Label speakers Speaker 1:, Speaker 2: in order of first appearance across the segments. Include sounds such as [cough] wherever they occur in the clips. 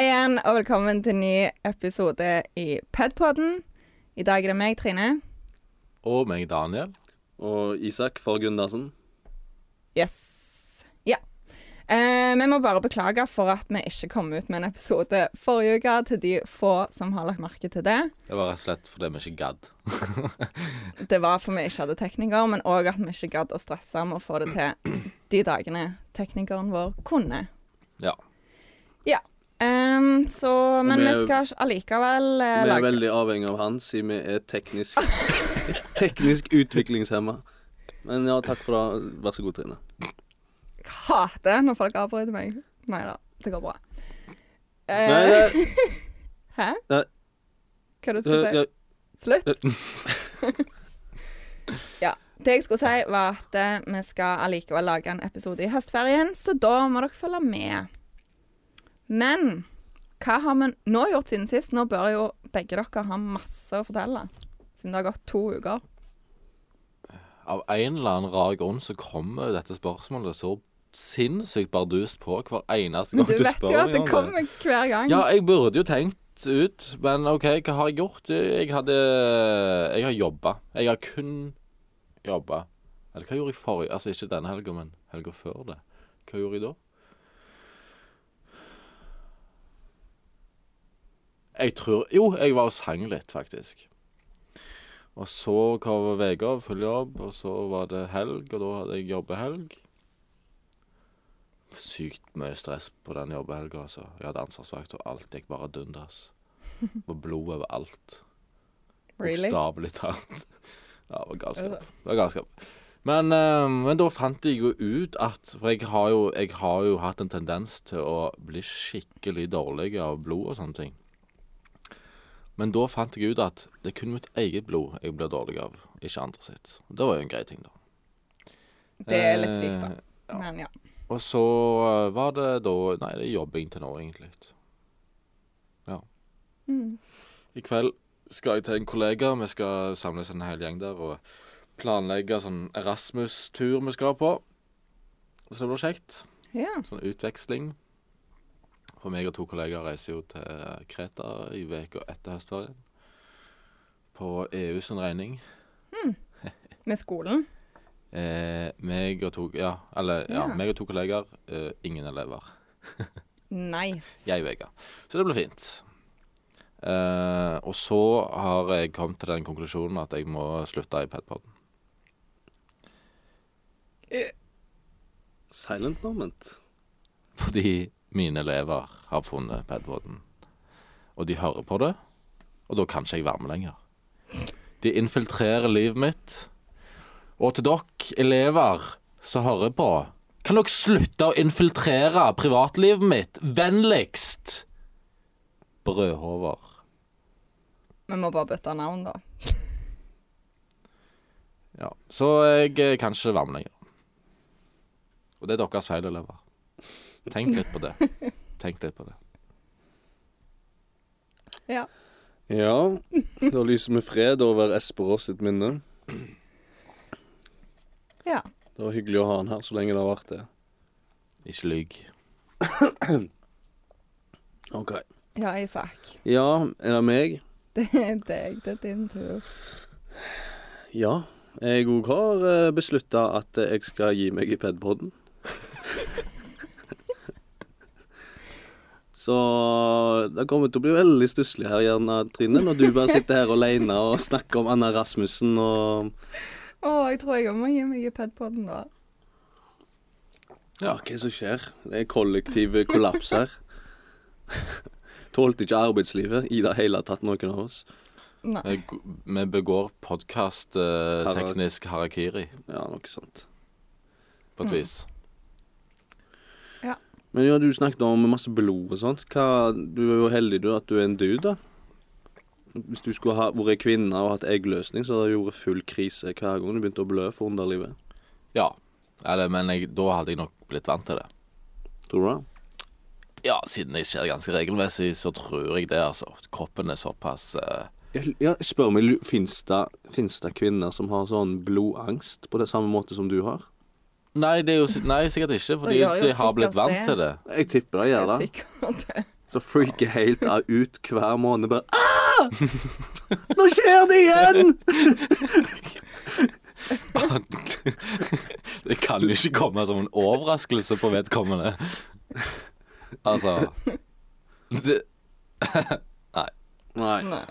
Speaker 1: igjen, og velkommen til en ny episode i Padpodden. I dag er det meg, Trine.
Speaker 2: Og meg, Daniel.
Speaker 3: Og Isak Forgundersen.
Speaker 1: Yes. Ja. Eh, vi må bare beklage for at vi ikke kom ut med en episode forrige uke, til de få som har lagt merke til det.
Speaker 2: Det var rett og slett fordi vi ikke gadd.
Speaker 1: Det var for vi ikke hadde tekniker, men òg at vi ikke gadd å stresse med å få det til de dagene teknikeren vår kunne.
Speaker 2: Ja.
Speaker 1: Ja. Ehm, så, men
Speaker 3: vi
Speaker 1: vi
Speaker 3: er-
Speaker 1: skal allikevel eh,
Speaker 3: Vi er
Speaker 1: lage
Speaker 3: veldig avhengig av han, siden vi er teknisk [laughs] Teknisk utviklingshemma. Men ja, takk for det. Vær så god, Trine.
Speaker 1: Hater når folk avbryter meg. Nei da, det går bra. Eh,
Speaker 3: Nei, det,
Speaker 1: Hæ?
Speaker 3: Nei.
Speaker 1: Hva du
Speaker 3: det,
Speaker 1: skulle si?
Speaker 3: det,
Speaker 1: Slutt?
Speaker 2: Eh,
Speaker 1: [laughs] ja. Det jeg skulle si, var at eh, vi skal allikevel lage en episode i høstferien, så da må dere følge med. Men hva har vi nå gjort siden sist? Nå bør jo begge dere ha masse å fortelle, siden det har gått to
Speaker 2: [laughs]
Speaker 1: uker.
Speaker 2: Av en eller annen rar grunn så kommer dette spørsmålet så sinnssykt bardust på hver eneste
Speaker 1: Men
Speaker 2: gang du,
Speaker 1: du vet
Speaker 2: spør
Speaker 1: jo at
Speaker 2: meg
Speaker 1: det
Speaker 2: om det.
Speaker 1: kommer hver gang.
Speaker 2: Ja, jeg burde jo tenkt ut, men OK, hva har jeg gjort? Jeg hadde eh, Jeg har jobba. Jeg har kun jobba. Eller hva gjorde jeg forrige Altså ikke denne helga, men helga før det. Hva gjorde jeg da? Jeg tror Jo, jeg var og sang litt, faktisk. Og så kom Vegard full jobb, og så var det helg, og da hadde jeg jobbehelg. Sykt mye stress på den jobbehelga, altså. Jeg hadde ansvarsvakt, og alt gikk bare dundas. Var blod overalt.
Speaker 1: really?
Speaker 2: Bokstavelig talt. Ja, det var galskap. Det var galskap. Men, eh, men da fant jeg jo ut at For jeg har jo, jeg har jo hatt en tendens til å bli skikkelig dårlig av blod og sånne ting. Men da fant jeg ut at det er kun mitt eget blod jeg blir dårlig av, ikke andre sitt. Det var jo en grei ting, da.
Speaker 1: Det er litt sykt, da.
Speaker 2: Eh, ja.
Speaker 1: Men ja.
Speaker 2: Og så eh, var det da Nei, det er jobbing til nå, egentlig. Ja.
Speaker 1: Mm.
Speaker 2: I kveld skal jeg til en kollega. Vi skal samles en hel gjeng der og planlegge sånn Erasmus-tur vi skal på. Så det blir kjekt.
Speaker 1: ja.
Speaker 2: Sånn utveksling. For meg og to kollegaer reiser jo til Kreta i uka etter høstferien. På EU sin regning.
Speaker 1: Med skolen.
Speaker 2: Eh, meg og to Ja, eller ja,
Speaker 1: Ja.
Speaker 2: meg og to kollegaer. Eh, ingen elever.
Speaker 1: Nice.
Speaker 2: Jeg vega. Så det ble fint. Eh, og så har jeg kommet til den konklusjonen at jeg må slutte i padpoden.
Speaker 3: silent moment.
Speaker 2: Fordi mine elever har funnet padpoden. Og de hører på det, og da kan ikke jeg være med lenger. De infiltrerer livet mitt. Og til dere elever som hører på, kan dere slutte å infiltrere privatlivet mitt? Vennligst! Brødhover.
Speaker 1: Vi må bare bytte navn, da.
Speaker 2: Ja, så jeg eh, kan ikke være med lenger. Og det er deres feil, elever. Tenk litt på
Speaker 1: [laughs]
Speaker 2: det. Tenk litt på det.
Speaker 1: Ja.
Speaker 3: Ja, da lyser vi fred over Esperås sitt minne.
Speaker 1: ja.
Speaker 3: Det var hyggelig å ha han her så lenge det har vært det.
Speaker 2: Ikke lyg.
Speaker 3: Ok.
Speaker 1: Ja, Isak. [laughs]
Speaker 3: Ja, er det meg?
Speaker 1: Det er deg. Det er din tur.
Speaker 3: Ja. Jeg òg har beslutta at eh, jeg skal gi meg i padpoden. Så det kommer til å bli veldig stusslig her, gjerne, Trine, når du bare sitter her alene og snakker om Anna Rasmussen og
Speaker 1: Å, jeg tror jeg må gi meg i padpoden, da.
Speaker 3: Ja, hva er det som skjer? Det er kollektiv kollaps her. Tålte ikke arbeidslivet i det hele tatt, noen av oss.
Speaker 1: Nei.
Speaker 2: Vi g- Vi begår
Speaker 3: Hara-
Speaker 2: podkast-teknisk harakiri,
Speaker 3: Ja, noe sånt.
Speaker 1: Mm.
Speaker 2: på et vis.
Speaker 3: Men ja, du snakket om masse blod og sånt. Hva, du er jo heldig du at du er en dude, da. Hvis du skulle ha vært kvinne og hatt eggløsning, så hadde det gjort full krise hver gang du begynte å blø for underlivet.
Speaker 2: Ja. Eller, men jeg, da hadde jeg nok blitt vant til det.
Speaker 3: Tror du det?
Speaker 2: Ja, siden det skjer ganske regelmessig, så tror jeg det, altså. Kroppen er såpass eh,
Speaker 3: Jeg- Ja, jeg spør meg, fins det, finnes det kvinner som har sånn blodangst på det samme måte som du har?
Speaker 2: Nei, det er jo, si- nei, sikkert ikke, fordi
Speaker 1: gjør jo
Speaker 2: de har
Speaker 1: sikkert
Speaker 2: blitt vant
Speaker 1: det.
Speaker 2: til det.
Speaker 3: Jeg tipper
Speaker 1: Det
Speaker 3: det
Speaker 1: er
Speaker 3: gjør det.
Speaker 1: sikkert det.
Speaker 3: Så freaker helt av ut hver måned. Bare ah! Nå skjer det [laughs] igjen!
Speaker 2: [laughs] Det kan jo ikke komme som en overraskelse på vedkommende. Altså det,
Speaker 3: Nei.
Speaker 1: Nei.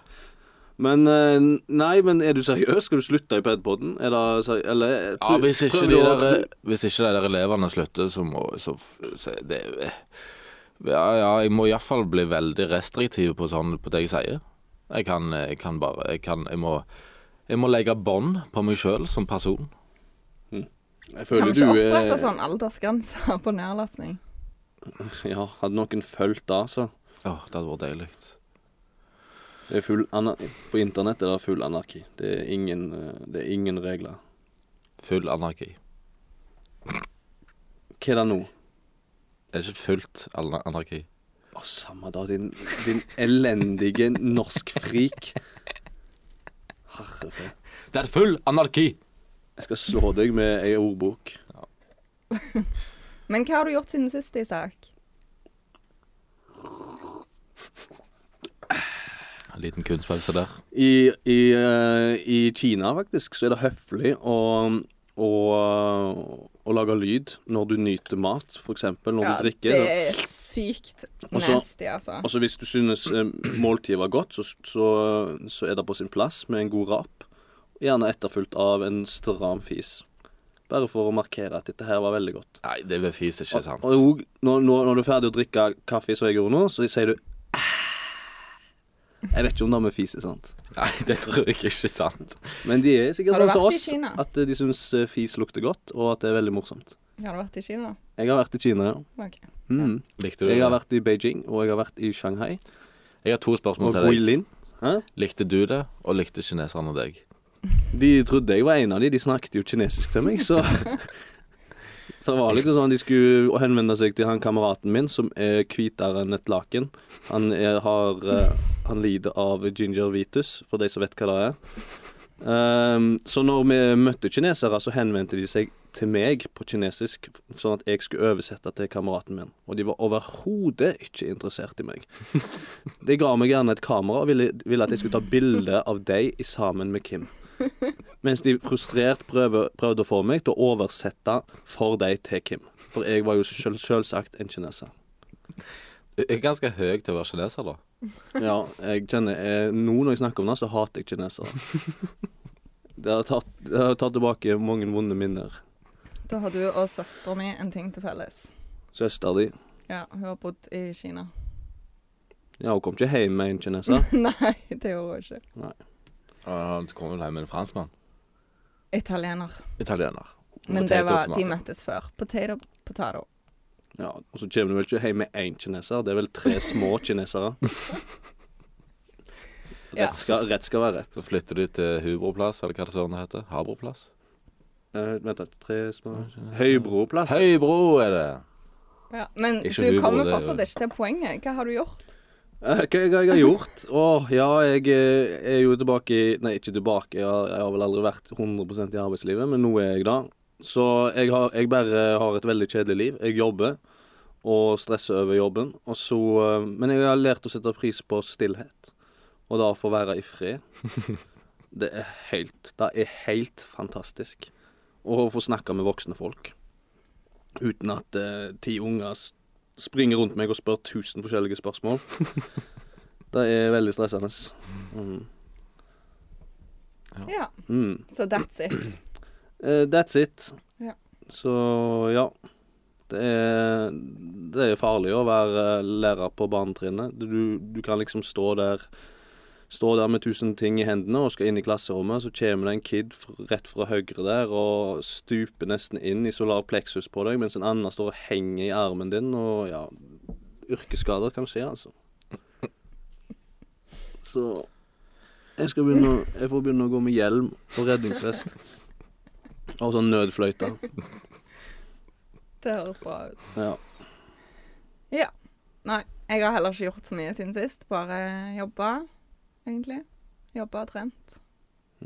Speaker 3: Men eh, nei, men er du seriøs? Skal du slutte i Pedpoden? Er det seri- Eller eh,
Speaker 2: ja,
Speaker 3: prøv-
Speaker 2: hvis, ikke
Speaker 3: prøver
Speaker 2: de
Speaker 3: du å-
Speaker 2: der, hvis ikke de der elevene slutter, så må så, så det, ja, ja, jeg må iallfall bli veldig restriktiv på, sånn, på det jeg sier. Jeg kan, jeg kan bare Jeg, kan, jeg, må, jeg må legge bånd på meg sjøl som person.
Speaker 3: Jeg
Speaker 1: Kan
Speaker 3: føler
Speaker 1: vi ikke
Speaker 3: du eh, er-
Speaker 1: opprette sånn aldersgrense på nedlastning? sånn?
Speaker 3: Ja, hadde noen fulgt da, så
Speaker 2: Åh, det hadde vært deilig.
Speaker 3: det er full ana På internett er det full anarki. Det er ingen, eh, det er ingen regler.
Speaker 2: Full anarki.
Speaker 3: Hva er det nå?
Speaker 2: Er det ikke fullt ana- anarki?
Speaker 3: Å, samme da, din, din elendige norskfrik. Herrefred.
Speaker 2: Det er full anarki!
Speaker 3: Jeg skal slå deg med ei ordbok.
Speaker 1: Men hva har du gjort siden sist, Isak?
Speaker 2: En liten kunstpause der.
Speaker 3: I, i, eh, I Kina, faktisk, så er det høflig å, å, å lage lyd når du nyter mat, f.eks. når du drikker.
Speaker 1: det er sykt
Speaker 3: Og så-
Speaker 1: nasty, altså.
Speaker 3: Altså Hvis du synes eh, måltidet var godt, så, så, så er det på sin plass med en god rap. Gjerne etterfulgt av en stram fis. Bare for å markere at dette her var veldig godt.
Speaker 2: Nei, det er fis, ikke sant?
Speaker 3: Og, og og når, når, når du er ferdig å drikke kaffe, som jeg gjorde nå, så sier du «Ah». Jeg vet ikke om det er med fise, sant?
Speaker 2: Nei, [laughs] det tror jeg ikke er sant.
Speaker 3: Men de er sikkert
Speaker 1: Har du
Speaker 3: sånn
Speaker 1: vært
Speaker 3: som
Speaker 1: i
Speaker 3: oss,
Speaker 1: Kina?
Speaker 3: at de syns eh, fis lukter godt, og at det er veldig morsomt.
Speaker 1: Har du vært i Kina?
Speaker 3: Jeg har vært i Kina, ja.
Speaker 1: Ok.
Speaker 3: Mm.
Speaker 2: Likte du det?
Speaker 3: Jeg har vært i Beijing, og jeg har vært i Shanghai.
Speaker 2: Jeg har to spørsmål
Speaker 3: Og
Speaker 2: til deg.
Speaker 3: Guilin. Hæ?
Speaker 2: Likte du det, og likte kineserne deg?
Speaker 3: De trodde jeg var en av de, de snakket jo kinesisk til meg, så Så det var liksom sånn de skulle henvende seg til han kameraten min som er hvitere enn et laken. Han er, har eh, Han lider av gingivitis, for de som vet hva det er. Ehm, så når vi møtte kinesere, så henvendte de seg til meg på kinesisk, sånn at jeg skulle oversette til kameraten min. Og de var overhodet ikke interessert i meg. De ga meg gjerne et kamera og ville, ville at jeg skulle ta bilde av deg i sammen med Kim. Mens de frustrert prøver, prøvde å få meg til å oversette for deg til Kim. For jeg var jo selv, selvsagt en kineser.
Speaker 2: Jeg er ganske høy til å være kineser, da.
Speaker 3: Ja, jeg kjenner eh, Nå når jeg snakker om det, så hater jeg kinesere. Det har tatt, det har tatt tilbake mange vonde minner.
Speaker 1: Da har du og søstera mi en ting til felles.
Speaker 3: Søster di
Speaker 1: Ja, hun har bodd i Kina. [laughs]
Speaker 3: Ja, hun kom ikke hjem med en kineser.
Speaker 1: Nei, det gjorde hun ikke.
Speaker 2: Ah, Du kommer vel hjem med en franskmann?
Speaker 1: Italiener.
Speaker 2: Italiener.
Speaker 1: Men det
Speaker 2: Potato,
Speaker 1: var, de
Speaker 2: tomater.
Speaker 1: møttes før. Potato, potato.
Speaker 3: Ja, Og så kommer du vel ikke hjem med én kineser. Det er vel tre små kinesere.
Speaker 1: Ja.
Speaker 3: Rett skal, rett skal være rett.
Speaker 2: Så flytter du til Hubroplass, eller hva det søren heter. Habroplass.
Speaker 3: Eh, vent, da. Tre små Høybroplass.
Speaker 2: Høybro er det!
Speaker 1: Ja. Men
Speaker 2: Ikke
Speaker 1: du
Speaker 2: hun,
Speaker 1: kommer
Speaker 2: det-
Speaker 1: fortsatt ikke til poenget. Hva har du gjort?
Speaker 3: Eh, Hva jeg, jeg har gjort? Å, ja, jeg eh, er jo tilbake i Nei, ikke tilbake, jeg har, jeg har vel aldri vært 100 i arbeidslivet, men nå er jeg da. Så jeg, har, jeg bare har et veldig kjedelig liv. Jeg jobber og stresser over jobben. Og så, eh, men jeg har lært å sette pris på stillhet, og da få være i fred. Det er helt Det er helt fantastisk å få snakke med voksne folk uten at eh, ti unger s- springer rundt meg og spør tusen forskjellige spørsmål. Det er veldig stressende. Mm.
Speaker 1: Ja,
Speaker 3: Mm.
Speaker 1: så that's
Speaker 3: [clears throat]
Speaker 1: it.
Speaker 3: Eh, that's it.
Speaker 1: Ja.
Speaker 3: Så ja. Det er, det er farlig å være eh, lærer på barnetrinnet. Du, du kan liksom stå der Stå der med tusen ting i hendene og skal inn i klasserommet, så kommer det en kid fr- rett fra høyre der og stuper nesten inn i solar plexus på deg, mens en annen står og henger i armen din, og ja Yrkesskader kan skje, altså. Så jeg skal begynne å, Jeg får begynne å gå med hjelm og redningsvest. Og sånn nødfløyte.
Speaker 1: Det høres bra ut.
Speaker 3: Ja.
Speaker 1: Ja. Nei, jeg har heller ikke gjort så mye siden sist. Bare jobba, egentlig. Jobba og trent.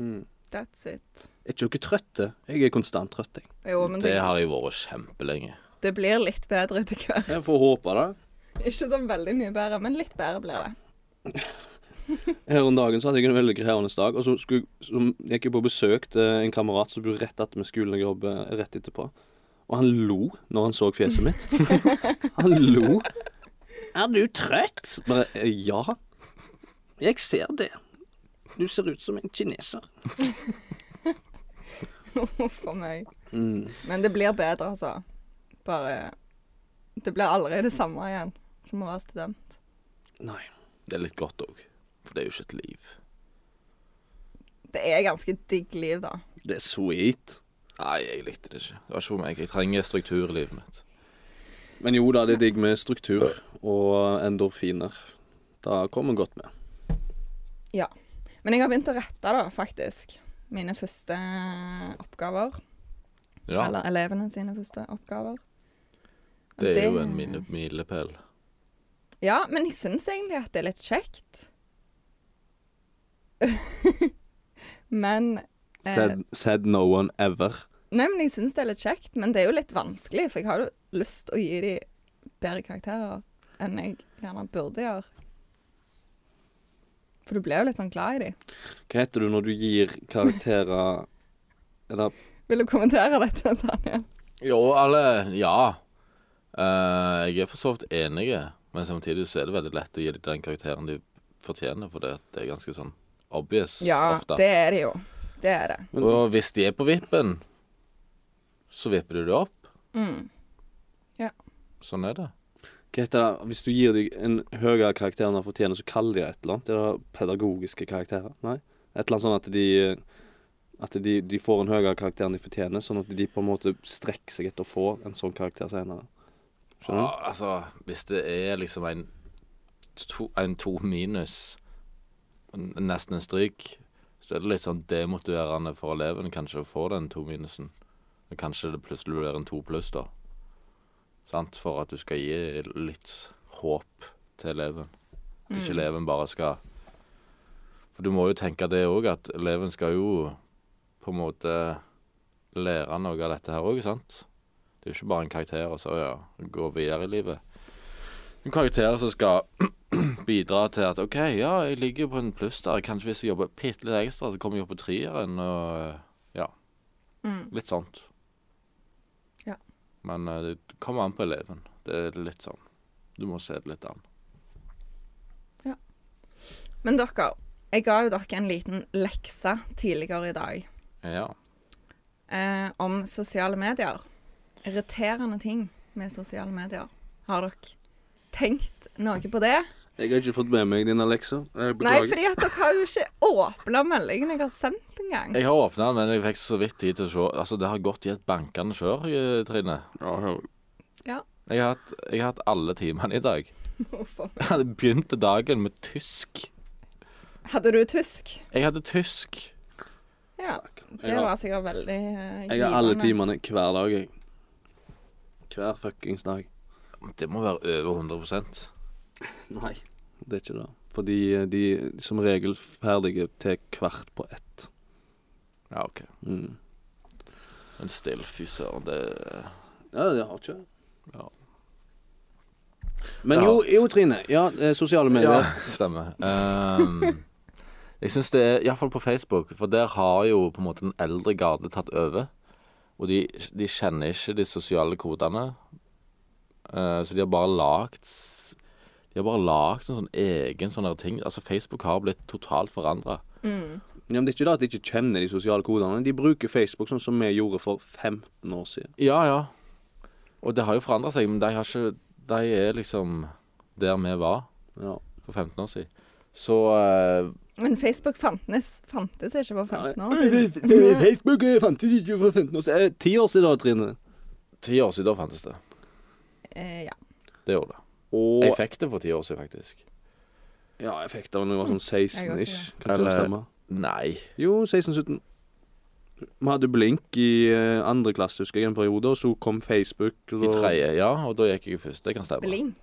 Speaker 3: Mm.
Speaker 1: That's it.
Speaker 3: Er ikke dere trøtte? Jeg er konstant trøtt, jeg.
Speaker 1: Jo, men
Speaker 2: Det
Speaker 1: det,
Speaker 2: har jeg vært kjempelenge.
Speaker 1: det blir litt bedre etter hvert. [laughs]
Speaker 3: Jeg får håpe det.
Speaker 1: Ikke sånn veldig mye bedre, men litt bedre blir det.
Speaker 3: Her om dagen så hadde jeg en veldig krevende dag, og så, skulle, så gikk jeg på besøk til en kamerat som bor rett attmed skolen jeg jobber rett etterpå. Og han lo når han så fjeset mitt. [laughs] Han lo. Er du trøtt? Bare «Eh, ja. Jeg ser det. Du ser ut som en kineser.
Speaker 1: For meg.
Speaker 3: Mm.
Speaker 1: Men det blir bedre, altså. Bare Det blir aldri det samme igjen som å være student.
Speaker 3: Nei.
Speaker 2: Det er litt godt òg. For det er jo ikke et liv.
Speaker 1: Det er ganske digg liv, da.
Speaker 3: Det er sweet.
Speaker 2: Nei, jeg likte det ikke. Det var ikke for meg. Jeg trenger struktur i livet mitt.
Speaker 3: Men jo da, det er digg med struktur og endorfiner. Da kommer godt med.
Speaker 1: Men jeg har begynt å rette, da, faktisk. Mine første oppgaver.
Speaker 2: Ja,
Speaker 1: Eller elevene sine første oppgaver. Og
Speaker 2: det er jo en mine- milepæl.
Speaker 1: Ja, men jeg syns egentlig at det er litt kjekt. [laughs] men eh,
Speaker 3: Said, said no one ever.
Speaker 1: Nei, men jeg syns det er litt kjekt, men det er jo litt vanskelig, for jeg har jo lyst å gi de bedre karakterer enn jeg gjerne burde gjøre. For du blir jo litt sånn glad i de.
Speaker 3: Hva heter du når du gir karakterer [laughs] Eller
Speaker 1: Vil du kommentere dette, Daniel?
Speaker 2: Jo, alle Ja. Eh, jeg er for så vidt enig, men samtidig så er det veldig lett å gi dem den karakteren de fortjener, for det, det er ganske sånn obvious
Speaker 1: Ja,
Speaker 2: ofte.
Speaker 1: det er det jo. Det er det.
Speaker 2: Og hvis de er på vippen, så vipper du det opp.
Speaker 1: Mm.
Speaker 2: Sånn er det.
Speaker 3: hva heter det? Hvis du gir dem en høyere karakter enn de fortjener, så kaller de det et eller annet. Det er da pedagogiske karakterer? Nei? Et eller annet sånn at de at de, de får en høyere karakter enn de fortjener, sånn at de på en måte strekker seg etter å få en sånn karakter senere. Skjønner du?
Speaker 2: Ja, altså, hvis det er liksom en to, en to minus, n- nesten en stryk, så er det litt sånn demotiverende for eleven kanskje å få den to minusen. Men Kanskje det plutselig blir en to pluss, da. Sant? For at du skal gi litt håp til eleven. At ikke
Speaker 3: Mm.
Speaker 2: eleven bare skal For du må jo tenke det òg, at eleven skal jo på en måte lære noe av dette her òg, sant? Det er jo ikke bare en karakter og så ja, gå videre i livet. En karakter som skal [clears throat] bidra til at OK, ja, jeg ligger på en pluss der. Kanskje hvis jeg jobber bitte litt ekstra, så kommer jeg opp på treeren og eh, ja.
Speaker 1: Mm.
Speaker 2: Litt sånt.
Speaker 1: Ja.
Speaker 2: Men eh, det kommer an på eleven. Det er litt sånn. Du må se det litt an.
Speaker 1: Men dere, jeg ga jo dere en liten lekse tidligere i dag
Speaker 2: Ja.
Speaker 1: eh, om sosiale medier. Irriterende ting med sosiale medier. Har dere tenkt noe på det?
Speaker 3: Jeg har ikke fått med meg dine lekser. Jeg
Speaker 1: Nei,
Speaker 3: beklager.
Speaker 1: fordi at dere har jo ikke åpna meldingen jeg har sendt engang.
Speaker 2: Jeg har åpna den, men jeg fikk så vidt tid til å se. Altså, det har gått i et bankende kjør, eh, Trine.
Speaker 3: Ja, hør.
Speaker 2: Jeg har hatt, jeg har hatt alle timene i dag. [laughs]
Speaker 1: Hvorfor?
Speaker 2: Jeg hadde begynt dagen med tysk.
Speaker 1: Hadde du tysk?
Speaker 2: Jeg hadde tysk.
Speaker 1: Ja.
Speaker 3: Jeg
Speaker 1: Det
Speaker 3: har-
Speaker 1: var sikkert veldig eh,
Speaker 3: Jeg har alle
Speaker 1: givende.
Speaker 3: timene hver dag, jeg. Hver fuckings dag.
Speaker 2: Det må være over 100
Speaker 3: Nei. Det er ikke det. Fordi eh, de er som regel ferdige til kvart på ett.
Speaker 2: Ja, OK.
Speaker 3: Mm.
Speaker 2: Men still, fy søren, det
Speaker 3: Ja, det har ikke
Speaker 2: Ja.
Speaker 3: Men
Speaker 2: Ja.
Speaker 3: jo, jo, Trine. Ja, eh, sosiale medier.
Speaker 2: stemmer. Ehm, jeg syns det er Iallfall på Facebook, for der har jo på en måte den eldre garde tatt over. Og de, de kjenner ikke de sosiale kodene. Eh, så de har bare lagd s- De har bare lagd en sånn egen sånn der ting. Altså, Facebook har blitt totalt forandra.
Speaker 3: Ja. men det er ikke det at de ikke kjenner de sosiale kodene. De bruker Facebook sånn som vi gjorde for 15 år siden.
Speaker 2: Ja, ja. Og det har jo forandra seg, men de har ikke De er liksom der vi var.
Speaker 3: Ja.
Speaker 2: for 15 år siden. Så eh,
Speaker 1: Men Facebook fantes, fantes ikke for 15 år siden.
Speaker 3: [laughs] Facebook fantes ikke for 15 år siden. Eh, Ti år siden, da, Trine.
Speaker 2: ti år siden da fantes det.
Speaker 1: Eh, ja.
Speaker 2: Det gjorde det.
Speaker 3: Og
Speaker 2: Jeg fikk det for ti år siden, faktisk.
Speaker 3: Ja, jeg fikk det da jeg var sånn
Speaker 1: Jeg også,
Speaker 3: 16-ish.
Speaker 2: ja.
Speaker 3: Kan ikke det
Speaker 2: Eller-
Speaker 3: stemme?
Speaker 2: Nei.
Speaker 3: Jo, 16-17. Vi hadde blink i eh, andre klasse, husker jeg, en periode, og så kom Facebook. Og...
Speaker 2: I tredje, ja. Og da gikk jeg først. Det kan stemme.
Speaker 1: Blink.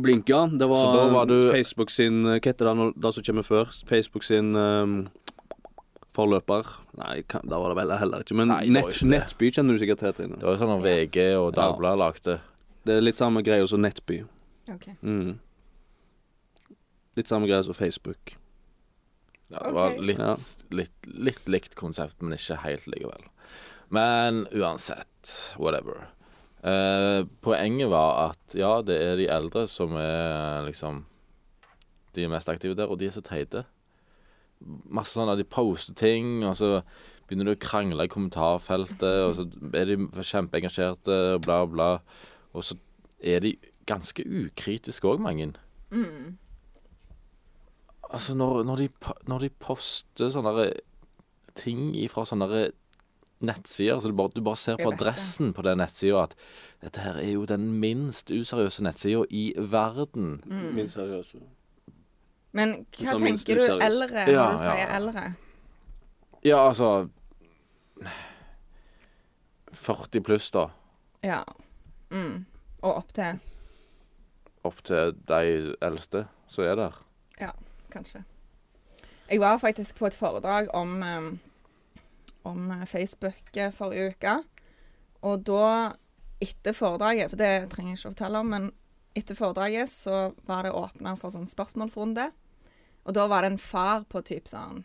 Speaker 3: Blink, ja. Det
Speaker 2: Så da
Speaker 3: var,
Speaker 2: var du-
Speaker 3: Facebook sin eh, Hva heter det, når- det som kommer før? Facebook sin eh, forløper. Nei, kan, da var det vel heller ikke. Men
Speaker 2: Nei, det var
Speaker 3: nett,
Speaker 2: ikke det.
Speaker 3: Nettby kjenner du sikkert til, Trine.
Speaker 2: Det var jo sånn når VG og Dagbladet lagde
Speaker 3: Det er litt samme greia som Nettby.
Speaker 1: Ok.
Speaker 3: Mm. Litt samme greia som Facebook.
Speaker 2: Ja, det var
Speaker 1: Ok.
Speaker 2: litt,
Speaker 3: Ja.
Speaker 2: litt, litt likt konsept, men ikke helt likevel. Men uansett, whatever. Eh, poenget var at ja, det er de eldre som er liksom De er mest aktive der, og de er så teite. Masse sånn at de poster ting, og så begynner de å krangle i kommentarfeltet, og så er de kjempeengasjerte, og bla, bla. Og så er de ganske ukritiske òg, mange.
Speaker 1: Mm.
Speaker 2: Altså, når, når, de, pa- når de poster sånne der eh, ting fra sånne der eh, nettsider så du, bare, du bare ser
Speaker 1: Jeg
Speaker 2: på
Speaker 1: vet det.
Speaker 2: adressen på den nettsida at dette her er jo den minst useriøse nettsida i verden.
Speaker 3: Min seriøse.
Speaker 1: Men
Speaker 3: Du
Speaker 1: hva
Speaker 3: sa minst
Speaker 1: tenker du
Speaker 3: useriøs.
Speaker 1: eldre når
Speaker 2: Ja,
Speaker 1: du
Speaker 2: ja,
Speaker 1: sier
Speaker 2: ja.
Speaker 1: eldre?
Speaker 2: Ja, altså [sighs] 40 pluss, da.
Speaker 1: Ja. Mm. Og opp til,
Speaker 2: Opp til de eldste som er der.
Speaker 1: kanskje. Jeg var faktisk på et foredrag om, eh, om Facebook eh, forrige uke. Og da, etter foredraget, for det trenger jeg ikke å fortelle om, men etter foredraget så var det åpna for sånn spørsmålsrunde. Og da var det en far på typ sånn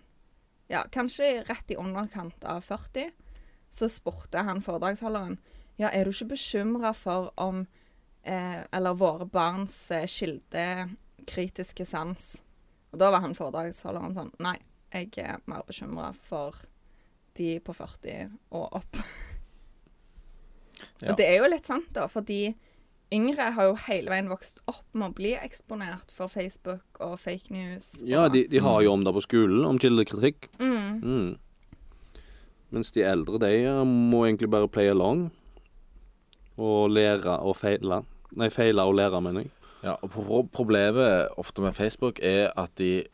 Speaker 1: Ja, kanskje rett i underkant av 40. Så spurte han foredragsholderen Ja, er du ikke bekymra for om eh, Eller våre barns eh, kildekritiske sans? Og da var han foredragsholderen sånn Nei, jeg er mer bekymra for de på 40 og opp.
Speaker 2: Ja.
Speaker 1: Og det er jo litt sant, da, fordi yngre har jo hele veien vokst opp med å bli eksponert for Facebook og fake news. Og,
Speaker 3: Ja, de, de har jo om det på skolen, om kildekritikk.
Speaker 1: mm,
Speaker 3: Mm. Mens de eldre, de eh, må egentlig bare play along. Og lære og feile. Nei, feile og lære, mener jeg.
Speaker 2: Ja, og pro Problemet ofte med Facebook er at de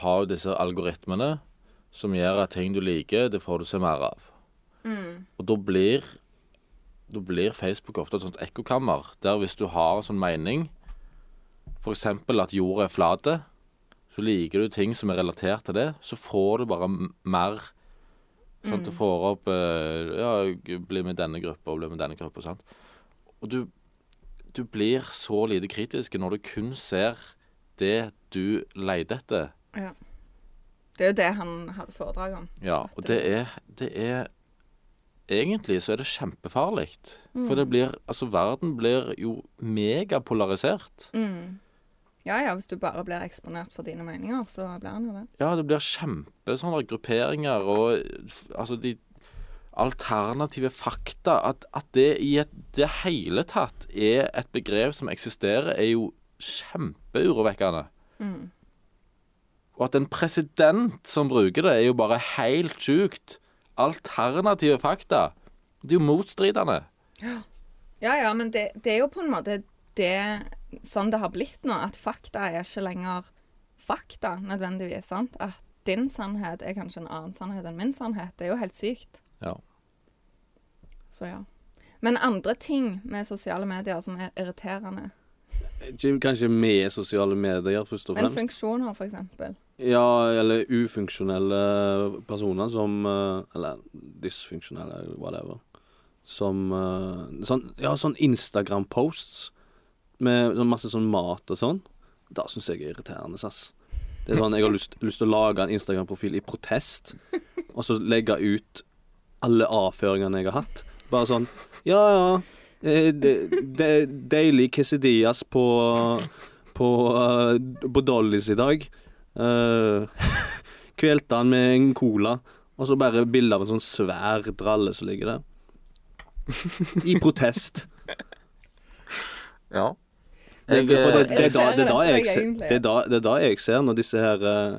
Speaker 2: har jo disse algoritmene som gjør at ting du liker, det får du se mer av.
Speaker 1: mm,
Speaker 2: Og da blir, da blir Facebook ofte et sånt ekkokammer, der hvis du har en sånn mening, f.eks. at jorda er flat, så liker du ting som er relatert til det, så får du bare m- mer Sånn at du får opp eh, Ja, g- bli med i denne gruppa og bli med i denne gruppa. Sant? Og du, du blir så lite kritisk når du kun ser det du leter etter.
Speaker 1: ja. Det er jo det han hadde foredrag om.
Speaker 2: Ja, og det er, det er Egentlig så er det kjempefarlig. For det blir Altså, verden blir jo megapolarisert.
Speaker 1: Mm. Ja ja, hvis du bare blir eksponert for dine meninger, så blir han jo det.
Speaker 2: Ja, det blir kjempe sånne grupperinger og f- Altså, de alternative fakta At, at det i et, det hele tatt er et begrep som eksisterer, er jo kjempeurovekkende.
Speaker 1: Mm.
Speaker 2: Og at en president som bruker det, er jo bare helt sjukt. Alternative fakta. Det er jo motstridende.
Speaker 1: Ja ja, men det, det er jo på en måte det sånn det har blitt nå, at fakta er ikke lenger fakta nødvendigvis. sant? At din sannhet er kanskje en annen sannhet enn min sannhet. Det er jo helt sykt.
Speaker 2: Ja.
Speaker 1: Så ja. Men andre ting med sosiale medier som er irriterende,
Speaker 3: Ikke- Kanskje med sosiale medier, først og
Speaker 1: men
Speaker 3: fremst.
Speaker 1: funksjoner for eksempel.
Speaker 3: Ja, eller ufunksjonelle personer som eh, Eller dysfunksjonelle, eller whatever. Som eh, sånn, Ja, sånn Instagram-posts med sånn masse sånn mat og sånn. Det syns jeg er irriterende, ass. Det er sånn, Jeg har lyst, lyst til å lage en Instagram-profil i protest, og så legge ut alle avføringene jeg har hatt. Bare sånn Ja, ja. eh, De, de, deilig quesadillas på På, eh, på Dollys i dag. Eh, [laughs] kvelte han med en cola, og så bare bilde av en sånn svær dralle som ligger der. I protest.
Speaker 2: Ja.
Speaker 3: Det, det, for det, det, er da, det, er da
Speaker 1: Jeg
Speaker 3: jeg,
Speaker 1: ser
Speaker 3: ser-
Speaker 1: det,
Speaker 3: det, er da, det er da jeg ser når disse her eh,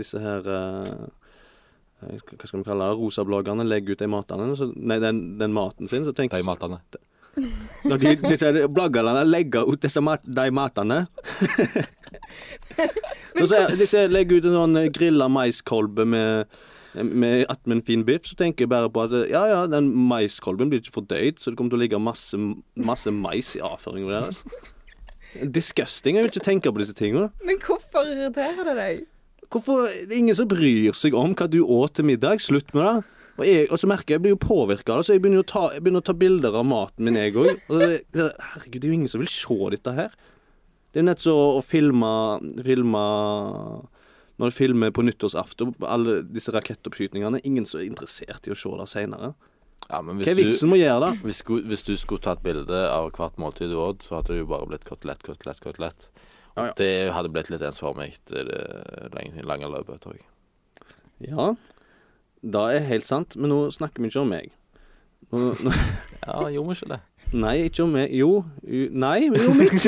Speaker 3: Disse her eh, Hva skal vi kalle det? Rosabloggerne legger ut de matene, så, nei, den, den maten sin, så tenker
Speaker 2: De
Speaker 3: jeg
Speaker 2: matene.
Speaker 3: Når de, disse bloggerne legger ut disse mat, de matene Så ser jeg- Hvis jeg legger ut en sånn grilla maiskolbe med med attmed en fin biff, så tenker jeg bare på at ja, ja, den maiskolben blir ikke fordøyd, så det kommer til å ligge masse, masse mais i avføringen deres. Disgusting. Jeg vil ikke tenke på disse tingene.
Speaker 1: Men hvorfor irriterer det deg? [laughs]
Speaker 3: Hvorfor det er ingen som bryr seg om hva du åt til middag? Slutt med det. Og, jeg, og så merker jeg jeg blir jo påvirka av det, så jeg begynner, jo å ta, jeg begynner å ta bilder av maten min, jeg òg. Og så- så- Herregud, det er jo ingen som vil se dette her. Det er jo nett så å filme, filme Når du filmer på nyttårsaften, alle disse rakettoppskytingene Ingen som er interessert i å se det seinere.
Speaker 2: Ja, men
Speaker 3: Hva er
Speaker 2: hvis
Speaker 3: vitsen
Speaker 2: du,
Speaker 3: med å gjøre det?
Speaker 2: hvis, gu- hvis du skulle tatt bilde av hvert måltid du åt, så hadde det jo bare blitt kotelett, kotelett, kotelett. Og
Speaker 3: Ja, ja.
Speaker 2: Det hadde blitt litt ensformig i det eh, lenge, lange løpet, tror jeg.
Speaker 3: Ja, det er helt sant, men nå snakker vi ikke om meg. Nå, nå,
Speaker 2: Ja, gjorde vi ikke det?
Speaker 3: nei, ikke om meg. Jo. jo nei, men jo, vi,
Speaker 2: [laughs]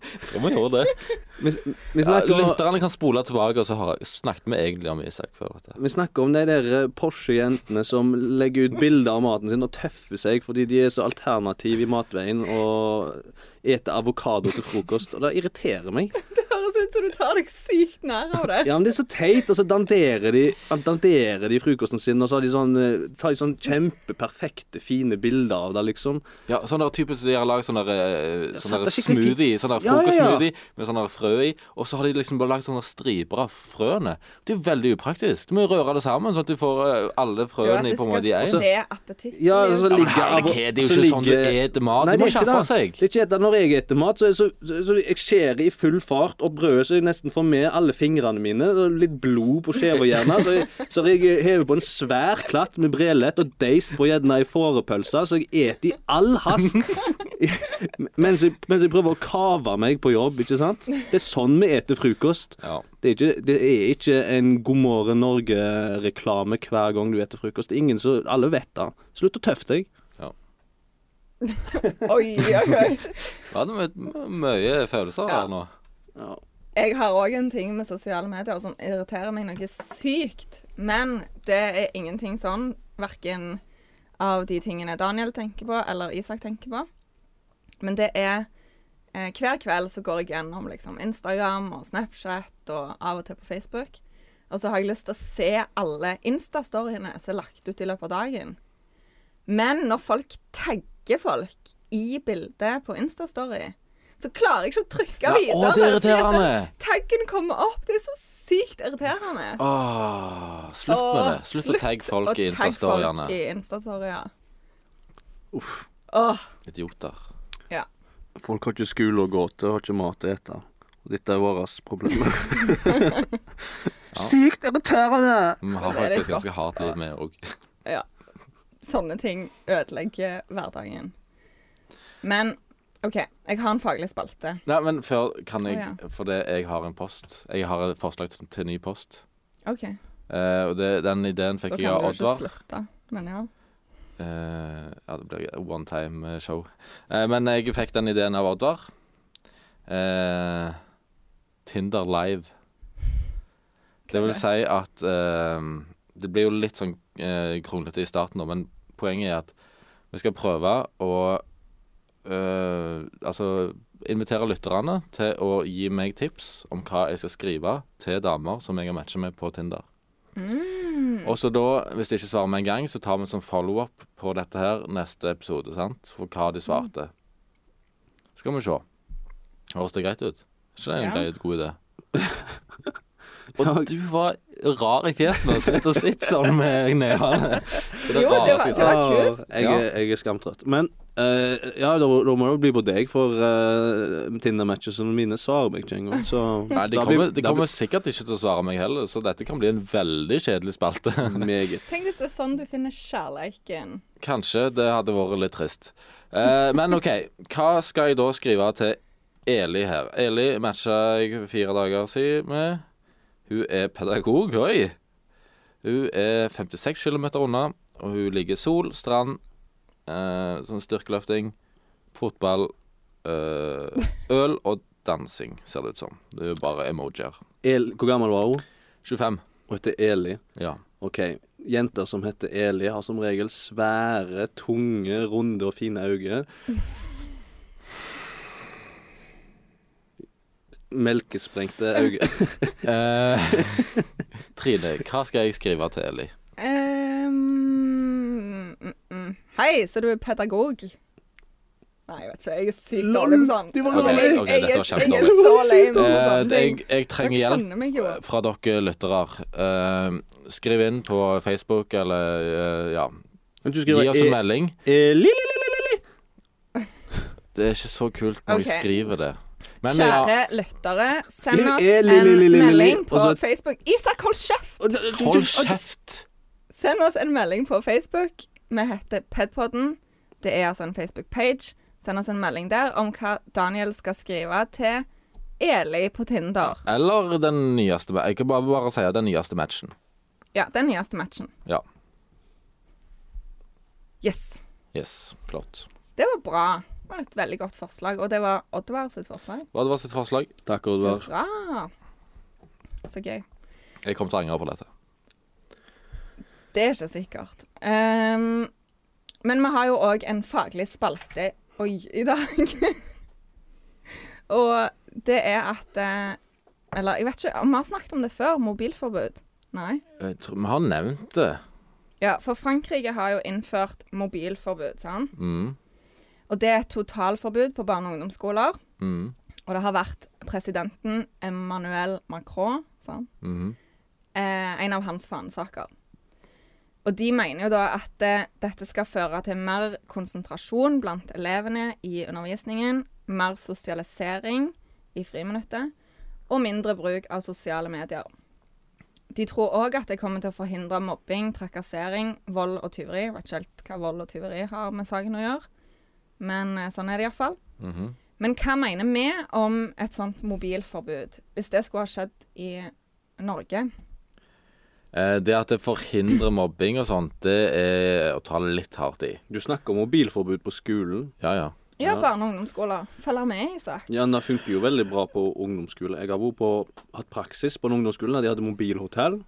Speaker 2: Tror vi gjorde det.
Speaker 3: vi, vi
Speaker 2: Ja,
Speaker 3: snakker om
Speaker 2: lytterne kan spole tilbake, og så har, snakket vi egentlig om Isak før dette.
Speaker 3: Vi snakker om de der eh, Porsche-jentene som legger ut bilder av maten sin og tøffer seg fordi de er så alternative i matveien og eter avokado til frokost. Og det irriterer meg.
Speaker 1: Det høres ut som du tar deg sykt nær av det.
Speaker 3: Ja, men det er så teit. Og så danderer de, danderer de frokosten sin, og så har de sånn, eh, tar de sånn kjempeperfekte, fine bilder av det, liksom.
Speaker 2: Ja, sånn der typisk de har lagd sånn der, eh, sånn
Speaker 3: satt
Speaker 2: der
Speaker 3: det skikkelig fint.
Speaker 2: smoothie, sånn der
Speaker 3: Ja, ja, ja.
Speaker 2: frokostsmoothie med sånn der frø i, og så har de liksom bare lagd sånne striper av frøene. Det er jo veldig upraktisk. Du må jo røre det sammen, sånn at du får eh,
Speaker 1: Jo,
Speaker 2: alle
Speaker 1: at
Speaker 2: frøene
Speaker 1: det
Speaker 2: i på en måte i
Speaker 1: skal
Speaker 2: én.
Speaker 1: se appetittlig
Speaker 3: Ja, så
Speaker 1: ut.
Speaker 2: men
Speaker 3: ligger
Speaker 2: herregud,
Speaker 3: avo-
Speaker 2: det er jo
Speaker 3: så
Speaker 2: ikke sånn du
Speaker 3: ligger-
Speaker 2: eter mat. Du
Speaker 3: Nei,
Speaker 2: må
Speaker 3: det er ikke
Speaker 2: skjerpe
Speaker 3: det.
Speaker 2: seg.
Speaker 3: Det er ikke det. Når jeg eter mat, så, er så, så, så jeg skjærer i full fart, og brødet så jeg nesten får med alle fingrene mine. Og litt blod på skjeva gjerne. Så, jeg- så jeg hever på en svær klatt med brelett og deist på gjerne i fårepølsa, så jeg eter i all hast. [laughs] mens, jeg, mens jeg prøver å kave meg på jobb, ikke sant. Det er sånn vi eter frokost.
Speaker 2: Ja.
Speaker 3: Det er ikke, det er ikke en God morgen Norge-reklame hver gang du eter frokost. Det er ingen som Alle vet det. Slutt å tøffe deg.
Speaker 1: Oi, oi, oi.
Speaker 2: Ja, det er mye- mye følelser
Speaker 1: Ja.
Speaker 2: her nå.
Speaker 3: Ja.
Speaker 1: Jeg har òg en ting med sosiale medier som irriterer meg noe sykt. Men det er ingenting sånn, verken av de tingene Daniel tenker på, eller Isak tenker på. Men det er eh, Hver kveld så går jeg gjennom liksom, Instagram og Snapchat og av og til på Facebook. Og så har jeg lyst til å se alle Insta-storyene som er lagt ut i løpet av dagen. Men når folk tagger folk i bildet på Insta-story, så klarer jeg ikke å trykke
Speaker 2: Ja,
Speaker 1: videre.
Speaker 2: å, det er
Speaker 1: fordi at
Speaker 2: irriterende.
Speaker 1: Taggen kommer opp. Det er så sykt irriterende.
Speaker 2: Åh, slutt med det. Slutt, å tagge folk i Insta-storyene.
Speaker 1: Tagg folk i Insta-storyene.
Speaker 3: Uff.
Speaker 1: Åh,
Speaker 2: Idioter.
Speaker 1: ja.
Speaker 3: Folk har ikke skole å gå til, har ikke mat å ete. Og dette er våre [laughs] problemer. Sykt irriterende!
Speaker 2: Vi
Speaker 1: Men det
Speaker 2: har
Speaker 1: er
Speaker 2: faktisk
Speaker 1: litt
Speaker 2: et ganske hardt liv, vi òg.
Speaker 1: ja. Sånne ting ødelegger hverdagen. Men OK, jeg har en faglig spalte.
Speaker 2: Nei, men før kan jeg
Speaker 1: Å, ja.
Speaker 2: Fordi jeg har en post. Jeg har et forslag til, til ny post.
Speaker 1: OK,
Speaker 2: Eh, og det, den ideen
Speaker 1: da
Speaker 2: fikk
Speaker 1: kan
Speaker 2: jeg av
Speaker 1: vi jo ikke
Speaker 2: Oddvar.
Speaker 1: slutte. Men ja.
Speaker 2: Eh, ja, det blir one time eh, show. Eh, men jeg fikk den ideen av Oddvar. Eh, Tinder live. Det vil si at eh, Det blir jo litt sånn uh, kronglete i starten, nå, men poenget er at vi skal prøve å eh, Altså invitere lytterne til å gi meg tips om hva jeg skal skrive til damer som jeg har matcha med på Tinder. Og så da, hvis de ikke svarer med en gang, så tar vi en sånn follow-up på dette her neste episode, sant? For hva de svarte. Skal vi se. Høres det greit ut? Ikke det en
Speaker 1: Ja.
Speaker 2: grei, god idé? Og du var rar i fjeset og sitter og sitter sånn med nevene. Det er
Speaker 1: Jo, det var-
Speaker 2: rareste jeg
Speaker 1: det
Speaker 2: har sett.
Speaker 1: var kult.
Speaker 3: Ah, Jeg, er- jeg er skamtrøtt. Men eh, ja, da, da må det jo bli på deg, for eh, Tinder-matchene mine svarer meg ikke engang. Så
Speaker 2: Nei, de
Speaker 3: da blir-
Speaker 2: kommer, de
Speaker 3: da blir
Speaker 2: kommer sikkert ikke til å svare meg heller, så dette kan bli en veldig kjedelig spalte. [laughs]
Speaker 3: meget.
Speaker 1: Tenk hvis det er sånn du finner kjærleiken.
Speaker 2: Kanskje det hadde vært litt trist. Eh, men OK, hva skal jeg da skrive til Eli her? Eli matcha jeg for fire dager siden med. Hun er pedagog, oi! Hun er 56 km unna, og hun ligger i sol, strand, eh, sånn styrkeløfting, fotball, eh, øl og dansing, ser det ut som. Det er jo bare emojier.
Speaker 3: El, hvor gammel var hun?
Speaker 2: 25.
Speaker 3: Hun heter Eli.
Speaker 2: Ja.
Speaker 3: OK. Jenter som heter Eli, har som regel svære, tunge, runde og fine øyne. Melkesprengte øyne. [laughs]
Speaker 2: Eh, [laughs] Trine, hva skal jeg skrive til Eli?
Speaker 1: Ehm, mm, mm. Hei, så du er pedagog? Nei, jeg vet ikke. Jeg er sykt dårlig på sånn.
Speaker 3: Du var
Speaker 1: Jeg-
Speaker 3: dårlig.
Speaker 2: Ok,
Speaker 1: Jeg,
Speaker 2: dette var
Speaker 1: jeg, jeg er
Speaker 2: kjempedårlig.
Speaker 1: så lei meg for
Speaker 2: Eh,
Speaker 1: sånne
Speaker 2: det-
Speaker 1: ting.
Speaker 2: jeg, jeg trenger
Speaker 1: Dere
Speaker 2: hjelp
Speaker 1: skjønner meg jo.
Speaker 2: eh, fra dere lyttere. Eh, skriv inn på Facebook eller eh, ja.
Speaker 3: Kan du
Speaker 2: Gi
Speaker 3: skrive
Speaker 2: oss
Speaker 3: e-
Speaker 2: en melding.
Speaker 3: e- li- li- li- li- li- li.
Speaker 2: Det er ikke så kult når vi
Speaker 1: Ok.
Speaker 2: skriver det. Men ja,
Speaker 1: Kjære lyttere, send
Speaker 3: Lille-
Speaker 1: oss
Speaker 3: eh,
Speaker 1: en
Speaker 3: lille- lille- lille-
Speaker 1: melding på
Speaker 3: og så-
Speaker 1: Facebook. Isak, hold kjeft!
Speaker 3: Og det- du- du-
Speaker 2: hold
Speaker 3: og-
Speaker 2: kjeft!
Speaker 1: Send oss en melding på Facebook. Vi heter Pedpodden. Det er altså en Facebook-page. Send oss en melding der om hva Daniel skal skrive til Eli på Tinder.
Speaker 2: Eller den nyeste ma- Jeg kan bare, bare si den nyeste matchen.
Speaker 1: Ja, den nyeste matchen.
Speaker 2: Ja.
Speaker 1: Yes.
Speaker 2: Yes. Flott.
Speaker 1: Det var bra. Det var et veldig godt forslag, og det var Oddvar sitt forslag.
Speaker 2: Hva var sitt forslag?
Speaker 3: Takk, Oddvar.
Speaker 1: Hurra! Så gøy.
Speaker 2: Jeg kommer til å angre på dette.
Speaker 1: Det er ikke sikkert. Ehm, men vi har jo òg en faglig spalte oi, i dag. [laughs] og det er at eh, Eller jeg vet ikke om vi har snakket om det før. Mobilforbud. Nei.
Speaker 2: Jeg tror, vi har nevnt det.
Speaker 1: Ja, for Frankrike har jo innført mobilforbud, sant.
Speaker 2: Mm.
Speaker 1: Og det er et totalforbud på barne- og ungdomsskoler.
Speaker 2: Mm.
Speaker 1: Og det har vært presidenten Emmanuel Macron, sant?
Speaker 2: Mhm.
Speaker 1: eh, en av hans fanesaker. Og de mener jo da at eh, dette skal føre til mer konsentrasjon blant elevene i undervisningen, mer sosialisering i friminuttet, og mindre bruk av sosiale medier. De tror òg at det kommer til å forhindre mobbing, trakassering, vold og tyveri. Jeg vet ikke helt hva vold og tyveri har med saken å gjøre, men eh, sånn er det iallfall.
Speaker 2: Mhm.
Speaker 1: Men hva mener vi om et sånt mobilforbud, hvis det skulle ha skjedd i Norge?
Speaker 2: Eh, Det at det forhindrer mobbing og sånt, det er å ta det litt hardt i.
Speaker 3: Du snakker om mobilforbud på skolen.
Speaker 2: Ja, ja.
Speaker 1: Ja,
Speaker 3: Ja.
Speaker 1: barne- og ungdomsskoler. Følger med, Isak.
Speaker 3: Ja, men Det funker jo veldig bra på ungdomsskole. Jeg har vært på, hatt praksis på en ungdomsskole der de hadde mobilhotell.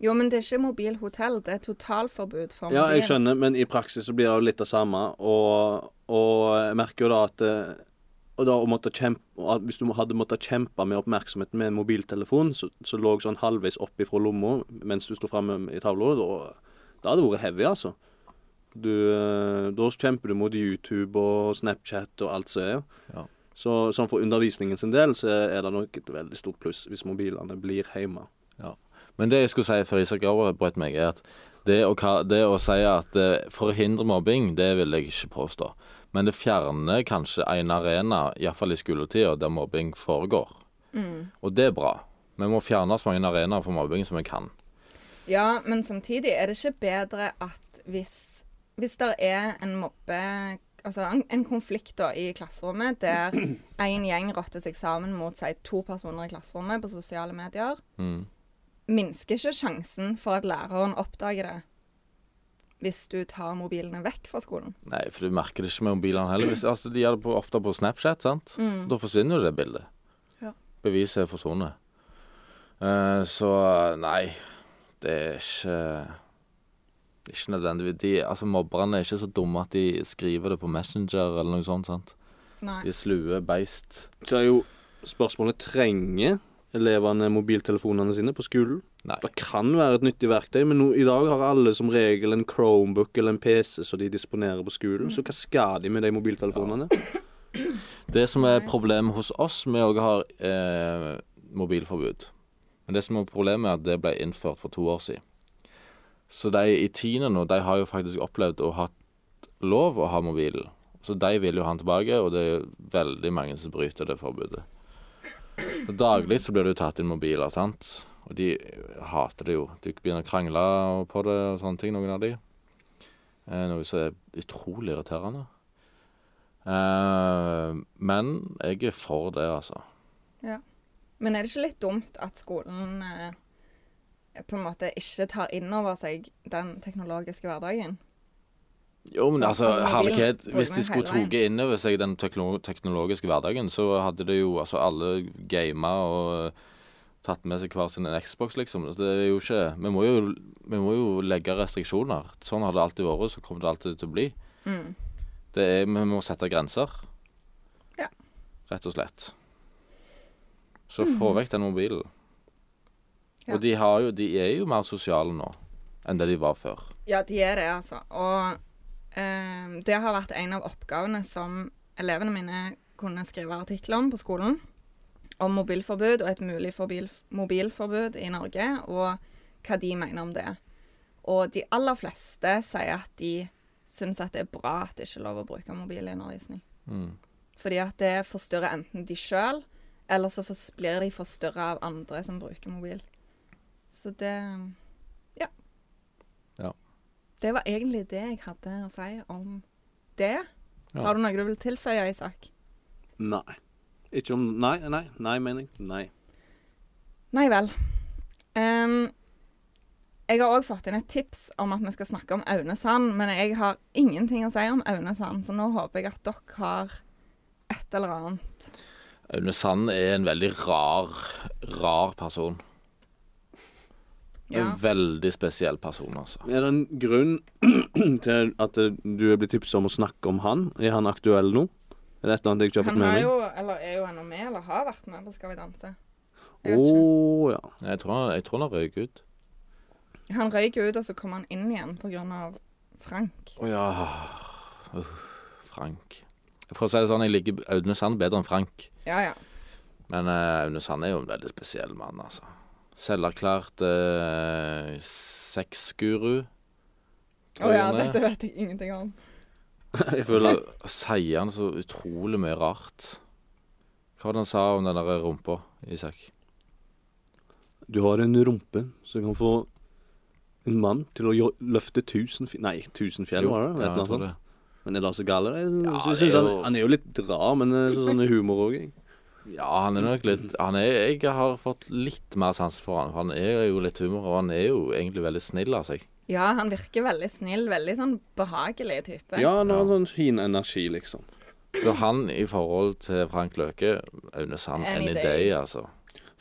Speaker 1: Jo, men det er ikke mobilhotell. Det er totalforbud for mobil.
Speaker 3: Ja, jeg skjønner, men i praksis så blir det jo litt det samme. Og, og jeg merker jo da at eh, og da å måtte kjempe, og at Hvis du hadde måttet kjempe med oppmerksomheten med en mobiltelefon, så, så lå jeg sånn halvveis opp ifra lomma mens du sto framme i tavla, da da hadde det vært heavy, altså. Du, eh, da kjemper du mot YouTube og Snapchat og alt som er.
Speaker 2: Ja.
Speaker 3: Så sånn for undervisningen sin del så er det nok et veldig stort pluss hvis mobilene blir hjemme.
Speaker 2: Men det jeg skulle si før Isak avbrøt meg, er at det å, ka- det å si at eh, det forhindrer mobbing, det vil jeg ikke påstå. Men det fjerner kanskje en arena, iallfall i skoletida, der mobbing foregår. Og det er bra. Vi må fjerne så mange arenaer for mobbing som vi kan.
Speaker 1: Ja, men samtidig er det ikke bedre at hvis, hvis det er en mobbe... Altså en, en konflikt da i klasserommet der
Speaker 3: [clears throat]
Speaker 1: en gjeng rotter seg sammen mot si to personer i klasserommet på sosiale medier,
Speaker 2: Mm.
Speaker 1: minsker ikke sjansen for at læreren oppdager det hvis du tar mobilene vekk fra skolen.
Speaker 2: Nei, for du merker det ikke med mobilene heller. Hvis, altså, de gjør det på, ofte på Snapchat, sant? Da forsvinner jo det bildet.
Speaker 1: Ja.
Speaker 2: Beviset er forsvunnet. Eh, så nei, det er ikke Ikke nødvendigvis de, Altså, mobberne er ikke så dumme at de skriver det på Messenger eller noe sånt, sant?
Speaker 1: Nei.
Speaker 2: De slue beist.
Speaker 3: Så er jo spørsmålet trenger elevene mobiltelefonene sine på skolen.
Speaker 2: Nei.
Speaker 3: Det kan være et nyttig verktøy, men nå- i dag har alle som regel en Chromebook eller en PC som de disponerer på skolen, så hva skal de med de mobiltelefonene?
Speaker 2: Det som er problemet hos oss, vi òg har eh, mobilforbud. Men det som er problemet er at det ble innført for to år siden. Så de i tiende nå, de har jo faktisk opplevd å ha lov å ha mobilen. Så de vil jo ha den tilbake, og det er veldig mange som bryter det forbudet. Så daglig så blir det jo tatt inn mobiler, sant. Og de eh, hater det jo. De begynner å krangle på det og sånne ting, noen av de. Eh, noe som er utrolig irriterende. Eh, men jeg er for det, altså.
Speaker 1: Men er det ikke litt dumt at skolen eh, på en måte ikke tar inn over seg den teknologiske hverdagen?
Speaker 2: Jo, men
Speaker 1: Så, altså,
Speaker 2: altså,
Speaker 1: mobilen
Speaker 2: herlighet.
Speaker 1: bruker
Speaker 2: Hvis
Speaker 1: man
Speaker 2: de skulle
Speaker 1: hele veien.
Speaker 2: tatt inn over seg den tekno teknologiske hverdagen, så hadde det jo altså alle gama og eh, tatt med seg hver sin Xbox, liksom. Så Det er jo ikke Vi må jo, vi må jo legge restriksjoner. Sånn har det alltid vært, så kommer det alltid til å bli.
Speaker 1: Mm.
Speaker 2: Det er, vi må sette grenser.
Speaker 1: Ja.
Speaker 2: Rett og slett. Så få vekk den mobilen.
Speaker 1: Mhm. Ja.
Speaker 2: Og de, har jo, de er jo mer sosiale nå enn det de var før.
Speaker 1: Ja, de er det, altså. Og eh, det har vært en av oppgavene som elevene mine kunne skrive artikler om på skolen. Om mobilforbud og et mulig forbil, mobilforbud i Norge, og hva de mener om det. Og de aller fleste sier at de syns at det er bra at det ikke er lov å bruke mobil i undervisning.
Speaker 2: Mm.
Speaker 1: Fordi at det forstyrrer enten de sjøl, eller så fors- blir de forstyrra av andre som bruker mobil. Så det Ja.
Speaker 2: Ja.
Speaker 1: Det var egentlig det jeg hadde å si om det.
Speaker 2: Ja.
Speaker 1: Har du noe du vil tilføye, Isak?
Speaker 3: Nei. Ikke om Nei, nei, nei, mener jeg. Nei.
Speaker 1: Nei vel. Ehm, jeg har òg fått inn et tips om at vi skal snakke om Aune Sand, men jeg har ingenting å si om Aune Sand, så nå håper jeg at dere har et eller annet.
Speaker 2: Aune Sand er en veldig rar, rar person.
Speaker 1: Ja.
Speaker 2: En veldig spesiell person, altså.
Speaker 3: Er det en grunn [clears throat] til at eh, du er blitt tipset om å snakke om han? Er han aktuell nå? Er det et eller annet jeg ikke har fått
Speaker 1: Han
Speaker 3: med
Speaker 1: har
Speaker 3: meg?
Speaker 1: jo, eller er jo ennå med, eller har vært med på Skal vi danse.
Speaker 3: Å
Speaker 1: Jeg vet ikke.
Speaker 3: ja. [laughs]
Speaker 2: Jeg tror han, jeg tror han røyk ut.
Speaker 1: Han røyk jo ut, og så kom han inn igjen pga. Frank.
Speaker 2: Å ja. Uff, Frank. For å si det sånn, jeg liker Aune Sand bedre enn Frank.
Speaker 1: Ja, ja.
Speaker 2: Men eh, Aune Sand er jo en veldig spesiell mann, altså. Selverklært uh, sexguru.
Speaker 1: Å ja,
Speaker 2: Trøyene.
Speaker 1: dette vet jeg ingenting om.
Speaker 3: Jeg føler
Speaker 2: føler Sier han så utrolig mye rart. Hva var det han sa om den der rumpa, Isak?
Speaker 3: Du har en rumpe som kan få en mann til å jo- løfte tusen fjell Nei, tusen fjell, var det?
Speaker 2: Ja,
Speaker 3: Ja,
Speaker 2: jeg tror
Speaker 3: sånt. Men er det så galt? Jeg
Speaker 2: Ja,
Speaker 3: synes
Speaker 2: det er
Speaker 3: han,
Speaker 2: jo-
Speaker 3: han er jo litt rar, men jeg synes han er humor òg.
Speaker 2: Ja, han er nok litt han er, Jeg har fått litt mer sans for han. for Han er jo litt humor, og han er jo egentlig veldig snill av seg.
Speaker 1: Ja, han virker veldig snill. Veldig sånn behagelig type.
Speaker 3: Ja, han har en sånn fin energi, liksom.
Speaker 2: Så han i forhold til Frank Løke Aune Sand
Speaker 1: Any
Speaker 2: any
Speaker 1: day.
Speaker 2: day, altså.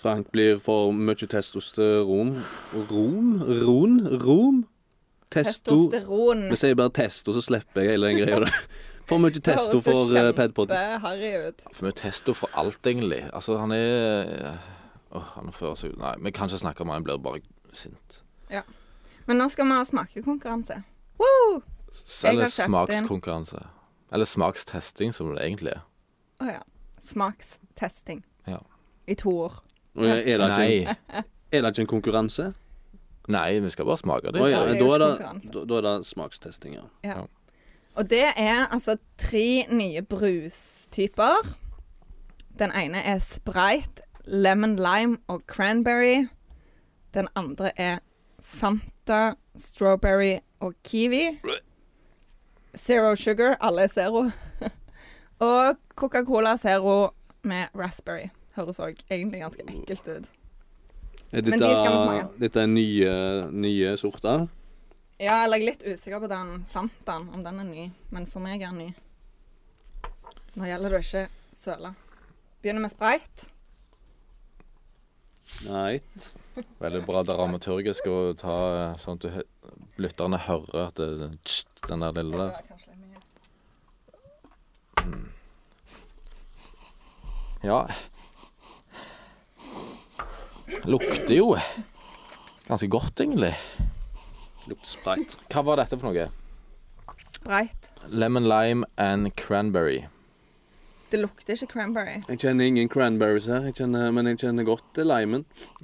Speaker 3: Frank blir for mye testosteron Rom? Ron? Rom? Testo...
Speaker 1: Testosteron.
Speaker 3: Vi sier bare testo, så slipper jeg hele den greia
Speaker 2: [laughs]
Speaker 3: der. For mye testo for uh, padpodden.
Speaker 1: Harry ut.
Speaker 2: For vi tester for alt, egentlig. Altså, han er Åh, han fører seg ut Nei, vi kan ikke snakke om han, jeg blir bare sint.
Speaker 1: Men nå skal vi ha smakekonkurranse. Woo! Jeg
Speaker 2: Eller
Speaker 1: har kjøpt en.
Speaker 2: smakskonkurranse. Eller smakstesting, som det egentlig er.
Speaker 1: Å ja. Smakstesting.
Speaker 2: Ja.
Speaker 1: I to ord.
Speaker 3: Og Er det ikke,
Speaker 2: Nei.
Speaker 3: er det ikke en konkurranse?
Speaker 2: Nei, vi skal bare smake det.
Speaker 3: Å ja,
Speaker 1: det er
Speaker 3: da
Speaker 1: jo
Speaker 3: er det,
Speaker 1: konkurranse.
Speaker 3: da, da er det smakstesting, ja.
Speaker 1: Og det er altså tre nye brustyper. Den ene er Sprite, Lemon Lime og Cranberry. Den andre er Fanta, Strawberry og Kiwi. Zero Sugar, alle er zero. [laughs] og Coca-Cola Zero med raspberry. Høres òg egentlig ganske ekkelt ut.
Speaker 3: Er
Speaker 1: Men de
Speaker 3: Eh, dette,
Speaker 1: skal vi smake.
Speaker 3: dette er nye, nye sorter?
Speaker 1: Ja, eller jeg er litt usikker på den Fantaen, om den er ny. Men for meg er den ny. Nå gjelder det å ikke søle. Begynner med sprayt.
Speaker 3: Nei.
Speaker 2: Veldig bra dramaturgisk å ta eh, sånn at du, hø- lytterne hører at det, tss, den der lille der. Ja. Lukter jo ganske godt, egentlig.
Speaker 3: Lukter sprite.
Speaker 2: Hva var dette for noe?
Speaker 1: Sprayt.
Speaker 2: Lemon lime and cranberry.
Speaker 1: Det lukter ikke cranberry.
Speaker 3: Jeg kjenner ingen cranberries her, jeg kjenner, men jeg kjenner godt eh, limen.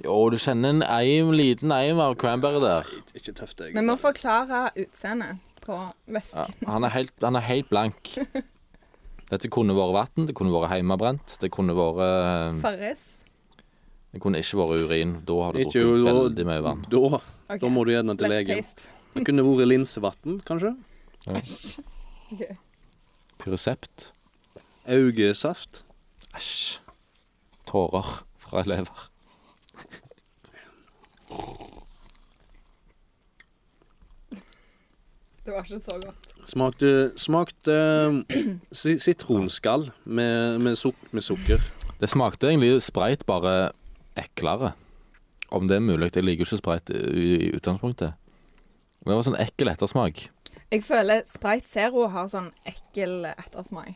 Speaker 2: Å, du kjenner en eim, liten eim av cranberry der.
Speaker 3: Ikke- Ikke tøft, jeg.
Speaker 1: Vi må forklare utseendet på
Speaker 2: Ja,
Speaker 1: væsken.
Speaker 2: han, er helt, han er helt blank. Dette kunne vært vann, det kunne vært hjemmebrent, det kunne vært eh,
Speaker 1: Farris.
Speaker 2: Det kunne ikke vært urin. Da har du
Speaker 3: Ikke
Speaker 2: drukket
Speaker 3: jo-
Speaker 2: veldig mye vann.
Speaker 3: Da,
Speaker 1: Ok,
Speaker 3: da må du gjerne til
Speaker 1: Let's
Speaker 3: legen.
Speaker 1: taste.
Speaker 3: Det kunne vært linsevann, kanskje?
Speaker 1: Æsj. Ok.
Speaker 2: Pyresept.
Speaker 3: Augesaft.
Speaker 2: Æsj. Tårer fra elever.
Speaker 1: Det var ikke så godt.
Speaker 3: Smakte,
Speaker 1: [clears throat]
Speaker 3: smakte eh, si- sitronskall med, med, suk med sukker.
Speaker 2: Det smakte egentlig sprayt bare eklere. Om det er mulig. Jeg liker jo ikke sprayt i i utgangspunktet. Men det var sånn ekkel ettersmak.
Speaker 1: Jeg føler Sprite Zero har sånn ekkel ettersmak.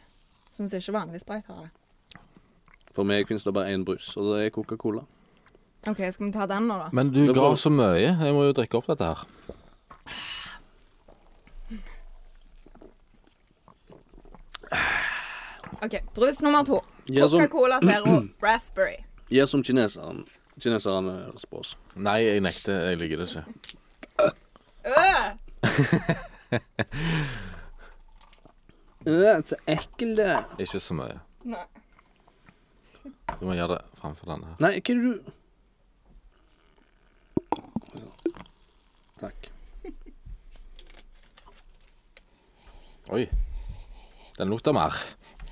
Speaker 1: Syns ikke vanlig Sprite har det.
Speaker 3: For meg finnes det bare én brus, og det er Coca-Cola.
Speaker 1: OK, skal vi ta den nå, da?
Speaker 2: Men du
Speaker 3: Det
Speaker 2: ga
Speaker 3: var-
Speaker 2: så mye. Jeg må jo drikke opp dette her.
Speaker 1: OK, brus nummer to.
Speaker 3: Gjør som,
Speaker 1: Coca-Cola Zero
Speaker 3: [clears throat]
Speaker 1: Raspberry.
Speaker 3: gjør som kineseren. kineserne gjør på oss.
Speaker 2: Nei, jeg nekter. Jeg liker det ikke.
Speaker 1: Øh!
Speaker 3: Øh, så ekkelt det.
Speaker 2: Ikke så mye.
Speaker 1: Nei.
Speaker 2: Du må gjøre det framfor denne. her.
Speaker 3: Nei, hva er det du Takk.
Speaker 2: Oi. Den lukter mer.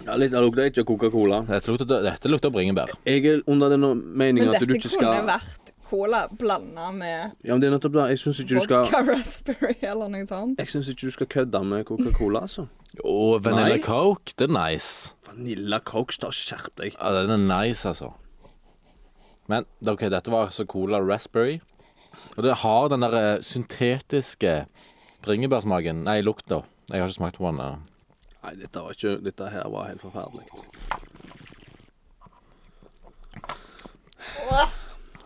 Speaker 3: Ja, litt, Det lukter ikke Coca-Cola.
Speaker 2: Dette lukter, dette lukter bringebær.
Speaker 3: Jeg er under den
Speaker 1: Men
Speaker 3: meningen at
Speaker 1: dette
Speaker 3: du ikke
Speaker 1: kunne
Speaker 3: skal
Speaker 1: vært cola blanda med
Speaker 3: Ja, men det er nettopp det. Jeg syns ikke du skal
Speaker 1: vodka [laughs] raspberry eller noe sånt.
Speaker 3: Jeg synes ikke du skal kødde med Coca-Cola, altså.
Speaker 2: Og Vanilla
Speaker 3: Nei.
Speaker 2: Coke, det er nice.
Speaker 3: Vanilla Coke, da skjerp deg.
Speaker 2: Ja, den er nice, altså. Men OK, dette var altså Cola Raspberry. Og det har den der eh, syntetiske bringebærsmaken Nei, lukta. Jeg har ikke smakt på den ennå.
Speaker 3: Nei, dette, var ikke, dette her var helt forferdelig.
Speaker 1: Åh,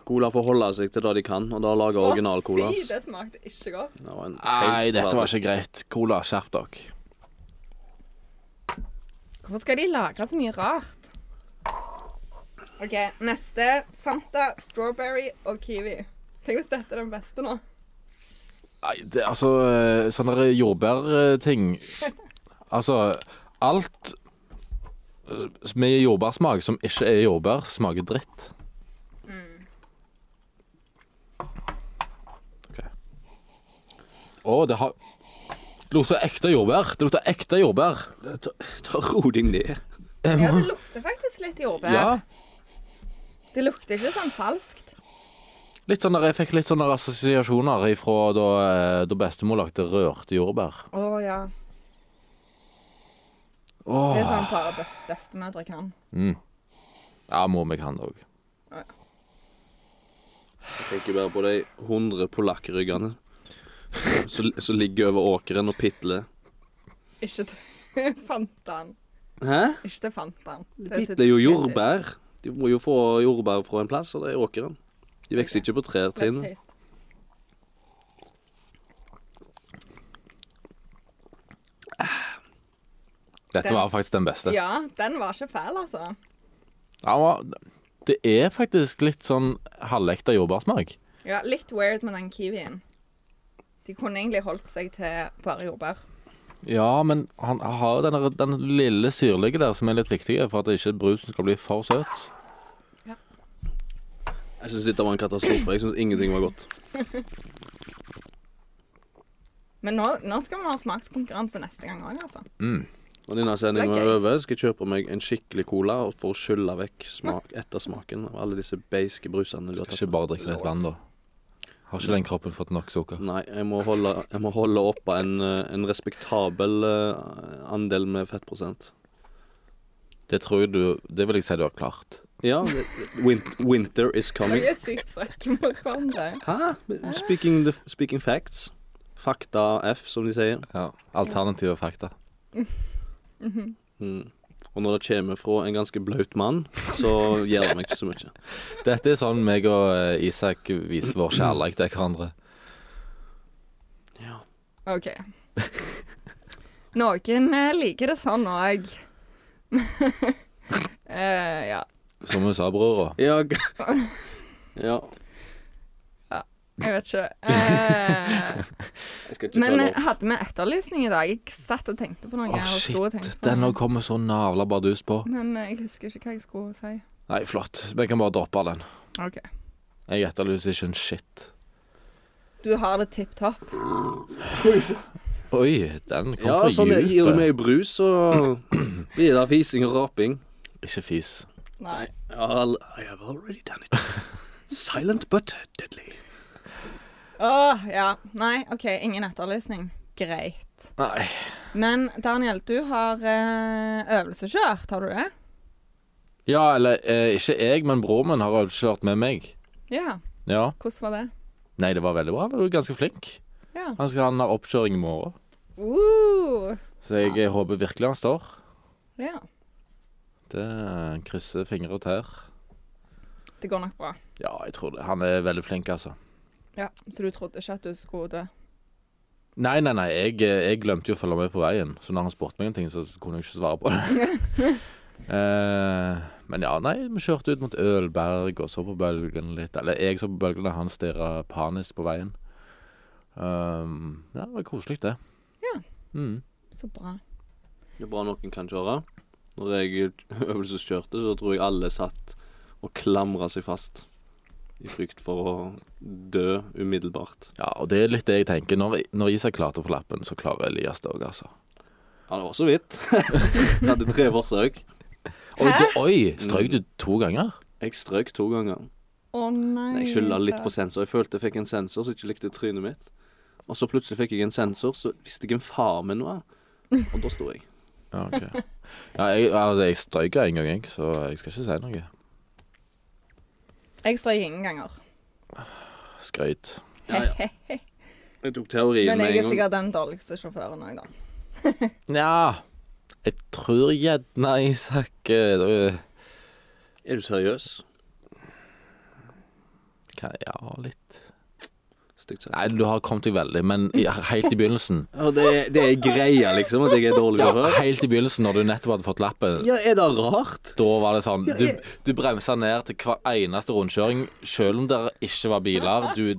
Speaker 3: Cola får holde seg til det de kan, og da lage original-cola.
Speaker 1: Fy,
Speaker 3: ass.
Speaker 1: det smakte ikke godt.
Speaker 3: Det var en
Speaker 2: Nei,
Speaker 3: helt
Speaker 2: dette var
Speaker 3: forferdelig.
Speaker 2: ikke greit. Cola, skjerp dere.
Speaker 1: Hvorfor skal de lagre så mye rart? OK, neste. Fanta, strawberry og kiwi. Tenk hvis dette er den beste
Speaker 3: [laughs]
Speaker 1: nå.
Speaker 2: Nei, det er altså eh, Sånne der jordbærting Altså, alt eh, med jordbærsmak som ikke er jordbær, smaker dritt. Mm. OK. Å, det har Det lukter ekte jordbær. Det lukter ekte jordbær.
Speaker 3: Ta- Ta ro deg ned.
Speaker 1: Ja, det lukter faktisk litt jordbær.
Speaker 2: Ja.
Speaker 1: Det lukter ikke sånn falskt.
Speaker 2: Litt sånn der, jeg fikk litt sånne assosiasjoner ifra da, eh, da bestemor lagde rørte jordbær.
Speaker 1: Å ja. Det er
Speaker 2: Åh.
Speaker 1: sånn bare best, bestemødre kan.
Speaker 2: Ja, mor meg kan det òg.
Speaker 3: Jeg tenker bare på de 100 polakkryggene [laughs] som som ligger over åkeren og pitler.
Speaker 1: Ikke til [laughs] Fantaen.
Speaker 3: Hæ?
Speaker 1: Ikke til Fantaen.
Speaker 3: De pitler jo jordbær. De må jo få jordbær fra en plass, og det er åkeren. De vokser ikke på trær,
Speaker 1: Let's
Speaker 3: Trine.
Speaker 1: taste.
Speaker 2: Dette
Speaker 1: Den-
Speaker 2: var faktisk den beste.
Speaker 1: Ja, den var ikke fæl, altså.
Speaker 2: Ja, men det er faktisk litt sånn halvekte jordbærsmak.
Speaker 1: Ja, litt weird med den kiwien. De kunne egentlig holdt seg til bare jordbær.
Speaker 2: Ja, men han har den, der, den lille syrlige der som er litt viktig for at ikke brusen skal bli for søt.
Speaker 3: Jeg syns dette var en katastrofe. Jeg syns ingenting var godt.
Speaker 1: Men nå, nå skal vi ha smakskonkurranse neste gang òg, altså.
Speaker 3: Når denne sendingen
Speaker 1: Det er
Speaker 3: er
Speaker 1: gøy.
Speaker 3: over, skal jeg kjøpe meg en skikkelig cola og for å skylle vekk smak, ettersmaken av alle disse beiske brusene du har tatt.
Speaker 2: Ikke bare drikke litt vann, da. Har ikke den kroppen fått nok sukker?
Speaker 3: Nei, jeg må holde, jeg må holde oppe en, eh, en respektabel eh, andel med fettprosent.
Speaker 2: Det tror jeg du Det vil jeg si du har klart.
Speaker 3: Ja, det- win, winter is coming.
Speaker 1: Dere er sykt frekke mot hverandre.
Speaker 3: Hæ? Speaking, the, speaking facts. Fakta F, som de sier.
Speaker 2: Ja. Alternative fakta.
Speaker 3: Mm. Og når det kommer fra en ganske blaut mann, så gjør det meg ikke så mye.
Speaker 2: Dette er sånn meg og eh, Isak viser vår kjærlighet til hverandre.
Speaker 1: OK. Noen eh, liker det sånn òg. [laughs] eh, ja.
Speaker 2: Som hun sa, brora.
Speaker 3: [laughs] Ja, g- ja.
Speaker 1: Jeg vet ikke. Eh,
Speaker 3: Jeg skal ikke
Speaker 1: men
Speaker 3: følge
Speaker 1: eh,
Speaker 3: opp.
Speaker 1: hadde vi etterlysning i dag? Jeg satt og tenkte på noe.
Speaker 2: Å,
Speaker 1: og sto og
Speaker 2: shit.
Speaker 1: tenkte på
Speaker 2: Den
Speaker 1: noe.
Speaker 2: nå kommer så navla bardus på.
Speaker 1: Men eh, jeg husker ikke hva jeg skulle si.
Speaker 2: Nei, flott. Vi kan bare droppe den.
Speaker 1: OK.
Speaker 2: Jeg etterlyser ikke en shit.
Speaker 1: Du har det tipp topp.
Speaker 2: Oi, den kom
Speaker 3: Ja,
Speaker 2: fra
Speaker 3: sånn det gir du
Speaker 2: dypet.
Speaker 3: meg brus, så blir det fising og raping.
Speaker 2: Ikke fis.
Speaker 1: Nei.
Speaker 3: I'll, I have already done it. Silent but deadly.
Speaker 1: Åh, ja. Nei, OK, ingen etterlysning. Greit.
Speaker 2: Nei.
Speaker 1: Men Daniel, du har eh, øvelseskjørt, har du det?
Speaker 2: Ja, eller eh, ikke jeg, men broren min har kjørt med meg.
Speaker 1: Ja.
Speaker 2: Ja.
Speaker 1: Hvordan var det?
Speaker 2: Nei, det var veldig bra. Du er ganske flink.
Speaker 1: Ja.
Speaker 2: Han skal han ha oppkjøring i morgen.
Speaker 1: Uh,
Speaker 2: Så jeg eh, håper virkelig han står.
Speaker 1: ja.
Speaker 2: Det eh, krysser fingre og tær.
Speaker 1: Det går nok bra.
Speaker 2: Ja, jeg tror det. Han er veldig flink, altså.
Speaker 1: Ja, Så du trodde ikke at du skulle dø?
Speaker 2: Nei, nei, nei. Jeg, jeg glemte jo å følge med på veien. Så når han spurte meg en ting, så kunne jeg ikke svare på det. Eh, men ja, nei. Vi kjørte ut mot Ølberg og så på bølgen litt. Eller jeg så på bølgene, han stirra panisk på veien. Um, ja, det var koselig, det.
Speaker 1: Ja.
Speaker 2: Mm.
Speaker 1: Så bra.
Speaker 3: Det er bra noen kan kjøre. Når jeg øvelseskjørte, så tror jeg alle satt og klamra seg fast i frykt for å dø umiddelbart.
Speaker 2: Ja, og det er litt det jeg tenker. Når, når Isak klarte å få lappen, så klarer Elias det òg, altså.
Speaker 3: Ja, det var så vidt. [laughs] Jeg hadde tre forsøk.
Speaker 2: Oi, du, oi! Strøk du to ganger?
Speaker 3: Jeg strøk to ganger.
Speaker 1: Å nei.
Speaker 3: Jeg skylda litt på
Speaker 1: Isak.
Speaker 3: sensor. Jeg følte jeg fikk en sensor som ikke likte trynet mitt. Og så plutselig fikk jeg en sensor, så visste jeg hvem far min var. Og da sto jeg.
Speaker 2: Ja, ok. Ja, jeg, altså, jeg strøyker en gang, jeg, så jeg skal ikke si noe.
Speaker 1: Jeg strøk ingen ganger.
Speaker 2: Skrøyt.
Speaker 3: Ja, ja.
Speaker 1: [laughs]
Speaker 3: Jeg tok teorien
Speaker 1: Men jeg
Speaker 3: med
Speaker 1: er
Speaker 3: en gang.
Speaker 1: sikkert den dårligste sjåføren òg, da.
Speaker 2: Nja Jeg tror gjerne Isak eh, da-
Speaker 3: Er du seriøs?
Speaker 2: kan- Ja, litt.
Speaker 3: Stygt sagt.
Speaker 2: Nei, du har kommet deg veldig, men i- helt i
Speaker 3: [laughs]
Speaker 2: begynnelsen.
Speaker 3: Og det, det er greia, liksom, at jeg er dårlig
Speaker 2: Ja,
Speaker 3: sjåfør?
Speaker 2: helt i begynnelsen, når du nettopp hadde fått lappen.
Speaker 3: Ja, er det rart?
Speaker 2: Da var det sånn Du, du bremsa ned til hver eneste rundkjøring, selv om det ikke var biler. Du,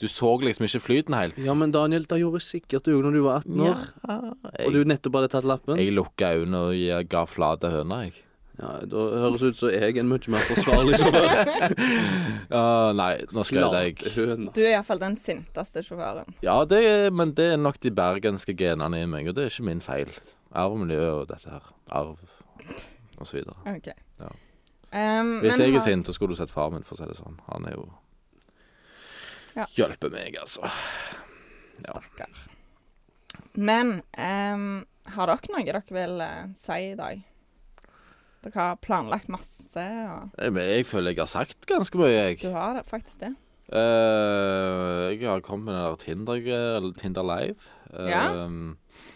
Speaker 2: du så liksom ikke flyten helt.
Speaker 3: Ja, men Daniel, det gjorde sikkert du òg når du var 18 år, og
Speaker 2: Jeg,
Speaker 3: du nettopp hadde tatt lappen.
Speaker 2: jeg lukka øynene og jeg ga flate høner, jeg.
Speaker 3: Ja, Da høres ut som jeg er en mye mer forsvarlig sjåfør.
Speaker 2: Ja, Ah, nei, nå skrøt jeg.
Speaker 3: Høna.
Speaker 1: Du er iallfall den sinteste sjåføren.
Speaker 2: Ja, det er, men det er nok de bergenske genene i meg, og det er ikke min feil. Arv, miljø og dette her. Arv og så videre.
Speaker 1: OK.
Speaker 2: Ja.
Speaker 1: Ehm,
Speaker 2: Hvis
Speaker 1: men
Speaker 2: jeg er
Speaker 1: har-
Speaker 2: sint, så skulle du sett far min, for å si det sånn. Han er jo
Speaker 1: Ja.
Speaker 2: Hjelper meg, altså. Ja.
Speaker 1: Stakkar. Men ehm, har dere noe dere vil eh, si i dag? Dere har planlagt masse, og
Speaker 2: Jeg, men jeg føler jeg har sagt ganske mye,
Speaker 1: du
Speaker 2: jeg.
Speaker 1: har det, faktisk det.
Speaker 2: Eh, jeg har kommet med den der Tinder, eller Tinder Live. Eh,
Speaker 1: Ja.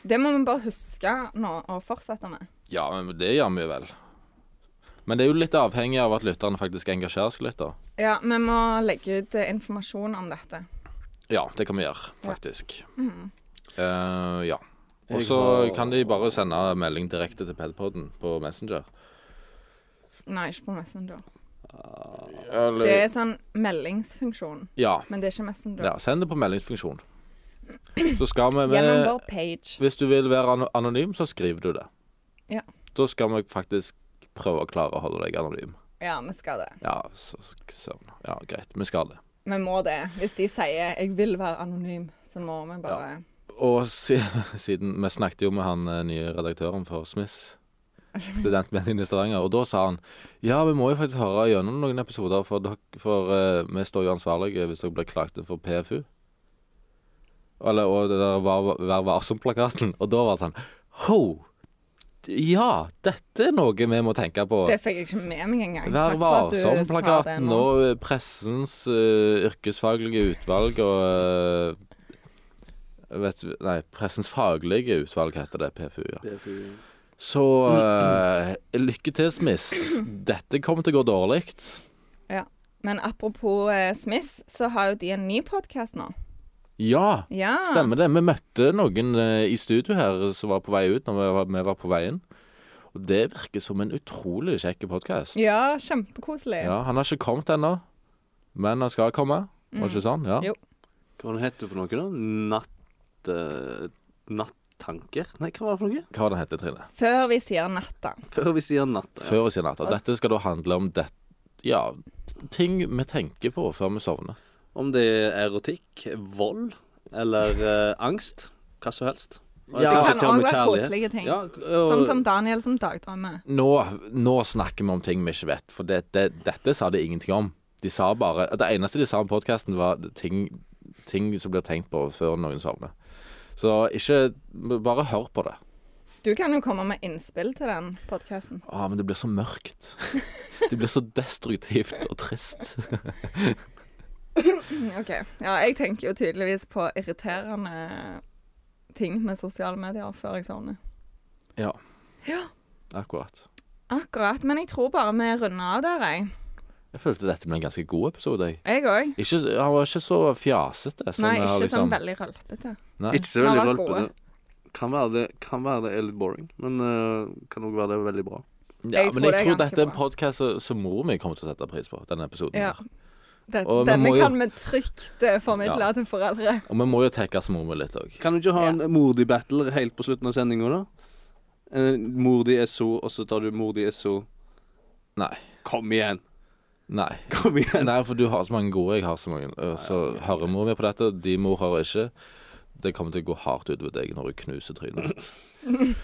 Speaker 1: Det må vi bare huske nå og fortsette med.
Speaker 2: ja, men det gjør vi vel. Men det er jo litt avhengig av at lytterne faktisk engasjerer seg litt, da.
Speaker 1: Ja, vi må legge ut eh, informasjon om dette.
Speaker 2: Ja, det kan vi gjøre, faktisk.
Speaker 1: Mm.
Speaker 2: Eh, ja. Og
Speaker 3: Jeg
Speaker 2: så
Speaker 3: har-
Speaker 2: kan de bare sende melding direkte til Pedpodden på Messenger.
Speaker 1: Nei, ikke på Messenger. Det
Speaker 2: Eller
Speaker 1: er sånn meldingsfunksjon,
Speaker 2: Ja.
Speaker 1: men det er ikke Messenger.
Speaker 2: ja send det på meldingsfunksjon. Så skal vi
Speaker 1: Gjennom
Speaker 2: med
Speaker 1: vår page.
Speaker 2: Hvis du vil være ano- anonym, så skriver du det.
Speaker 1: Ja.
Speaker 2: Da skal vi faktisk prøve å klare å holde deg anonym.
Speaker 1: Ja, vi skal det.
Speaker 2: Ja, så søvn. Ja, greit. Vi skal det.
Speaker 1: Vi må det. Hvis de sier 'jeg vil være anonym', så må vi bare
Speaker 2: Og si, [laughs] siden Vi snakket jo med han eh, nye redaktøren for Smith, studentmedien i Stavanger, og da sa han ja, vi må jo faktisk høre gjennom noen episoder, for, dere- for eh, vi står jo ansvarlige hvis dere blir klagt inn for PFU. Eller, og det der var, Vær varsom-plakaten. Og da var det sånn Ho! Ja, dette er noe vi må tenke på.
Speaker 1: Det fikk jeg ikke med meg engang.
Speaker 2: Vær
Speaker 1: Takk for at du sa det
Speaker 2: varsom-plakaten
Speaker 1: nå.
Speaker 2: og eh, pressens eh, yrkesfaglige utvalg og eh, vet, du- Nei, pressens faglige utvalg heter det, PFU. ja.
Speaker 3: Det er fy-
Speaker 2: Så eh, lykke til, Smiss. Dette kommer til å gå dårlig.
Speaker 1: Men apropos eh, Smith, så har jo de en ny podkast nå.
Speaker 2: Ja,
Speaker 1: Ja.
Speaker 2: stemmer det. Vi møtte noen eh, i studio her som var på vei ut når vi var, vi var på veien. Og det virker som en utrolig kjekk podkast.
Speaker 1: Ja, kjempekoselig.
Speaker 2: Ja, han har ikke kommet ennå, men han skal komme. Var det ikke sånn? Ja.
Speaker 1: Mm. Jo.
Speaker 3: Hva var det den het for noe, da? Natt... eh, nattanker? Nei, hva var det for noe?
Speaker 2: Hva var det han heter, Trine?
Speaker 1: Før vi sier natta.
Speaker 3: Før vi sier natta. Ja.
Speaker 2: Før og siden natta. Dette skal da handle om det, ja, ting vi tenker på før vi sovner.
Speaker 3: Om det er erotikk, vold eller eh, angst. Hva som helst. Og
Speaker 2: Ja.
Speaker 1: Det
Speaker 3: kanskje
Speaker 1: kan
Speaker 3: til og
Speaker 1: også
Speaker 3: med
Speaker 1: være
Speaker 3: kjærlighet.
Speaker 1: koselige ting.
Speaker 3: Ja, og-
Speaker 1: Sånn som Daniel som dagdrømmer.
Speaker 2: Nå, nå snakker vi om ting vi ikke vet, for det, det, dette sa de ingenting om. De sa bare, Det eneste de sa om podkasten, var ting, ting som blir tenkt på før noen sovner. Så ikke Bare hør på det.
Speaker 1: Du kan jo komme med innspill til den podkasten.
Speaker 2: Å, men det blir så mørkt. Det blir så destruktivt og trist.
Speaker 1: [clears throat] OK. Ja, jeg tenker jo tydeligvis på irriterende ting med sosiale medier før jeg sovner.
Speaker 2: Ja.
Speaker 1: Ja.
Speaker 2: Akkurat.
Speaker 1: Akkurat. Men jeg tror bare vi runder av der, jeg.
Speaker 2: Jeg følte dette ble en ganske god episode, jeg.
Speaker 1: Jeg òg.
Speaker 2: Ikke, han var ikke så fjasete. som
Speaker 1: Nei,
Speaker 2: jeg har
Speaker 1: ikke
Speaker 2: liksom-
Speaker 1: sånn veldig rølpete.
Speaker 2: Nei.
Speaker 3: Ikke så
Speaker 1: Nei,
Speaker 3: veldig
Speaker 1: det var
Speaker 3: rølt på
Speaker 1: gode.
Speaker 3: det. Kan være det, kan være det er litt boring, men eh, kan òg være det veldig bra.
Speaker 2: Ja,
Speaker 1: Jeg tror
Speaker 2: men jeg
Speaker 1: det er
Speaker 2: tror
Speaker 1: ganske
Speaker 2: dette er en
Speaker 1: bra.
Speaker 2: podkast som mor mi kommer til å sette pris på. Denne episoden
Speaker 1: Ja.
Speaker 2: her.
Speaker 1: Det,
Speaker 2: Og vi
Speaker 1: denne
Speaker 2: må jo-
Speaker 1: kan vi trygt eh, formidle
Speaker 2: Ja.
Speaker 1: til foreldre.
Speaker 2: Og vi må jo tekkes mor mi litt òg.
Speaker 3: Kan du ikke ha en Mordi-battle helt på slutten av sendinga, da? Eh, Mordi er så, og så tar du Mordi er så
Speaker 2: Nei.
Speaker 3: Kom igjen!
Speaker 2: [laughs] Nei.
Speaker 3: Kom igjen!
Speaker 2: Nei, for du har så mange gode, jeg har så mange. Øh, Så hører mor mi på dette, de mor hører ikke. Det kommer til å gå hardt utover deg når du knuser trynet ditt.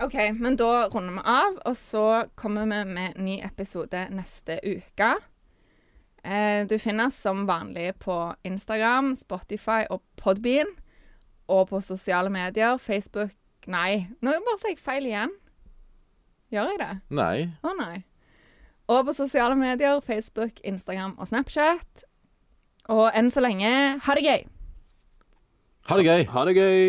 Speaker 1: OK, men da runder vi av, og så kommer vi med ny episode neste uke. Eh, du finner oss som vanlig på Instagram, Spotify og Podbean. Og på sosiale medier, Facebook Nei, nå bare sier jeg feil igjen. Gjør jeg det?
Speaker 2: Nei.
Speaker 1: Å nei. Og på sosiale medier, Facebook, Instagram og Snapchat. Og enn så lenge, ha det gøy!
Speaker 2: Ha det gøy.
Speaker 3: Ha det gøy!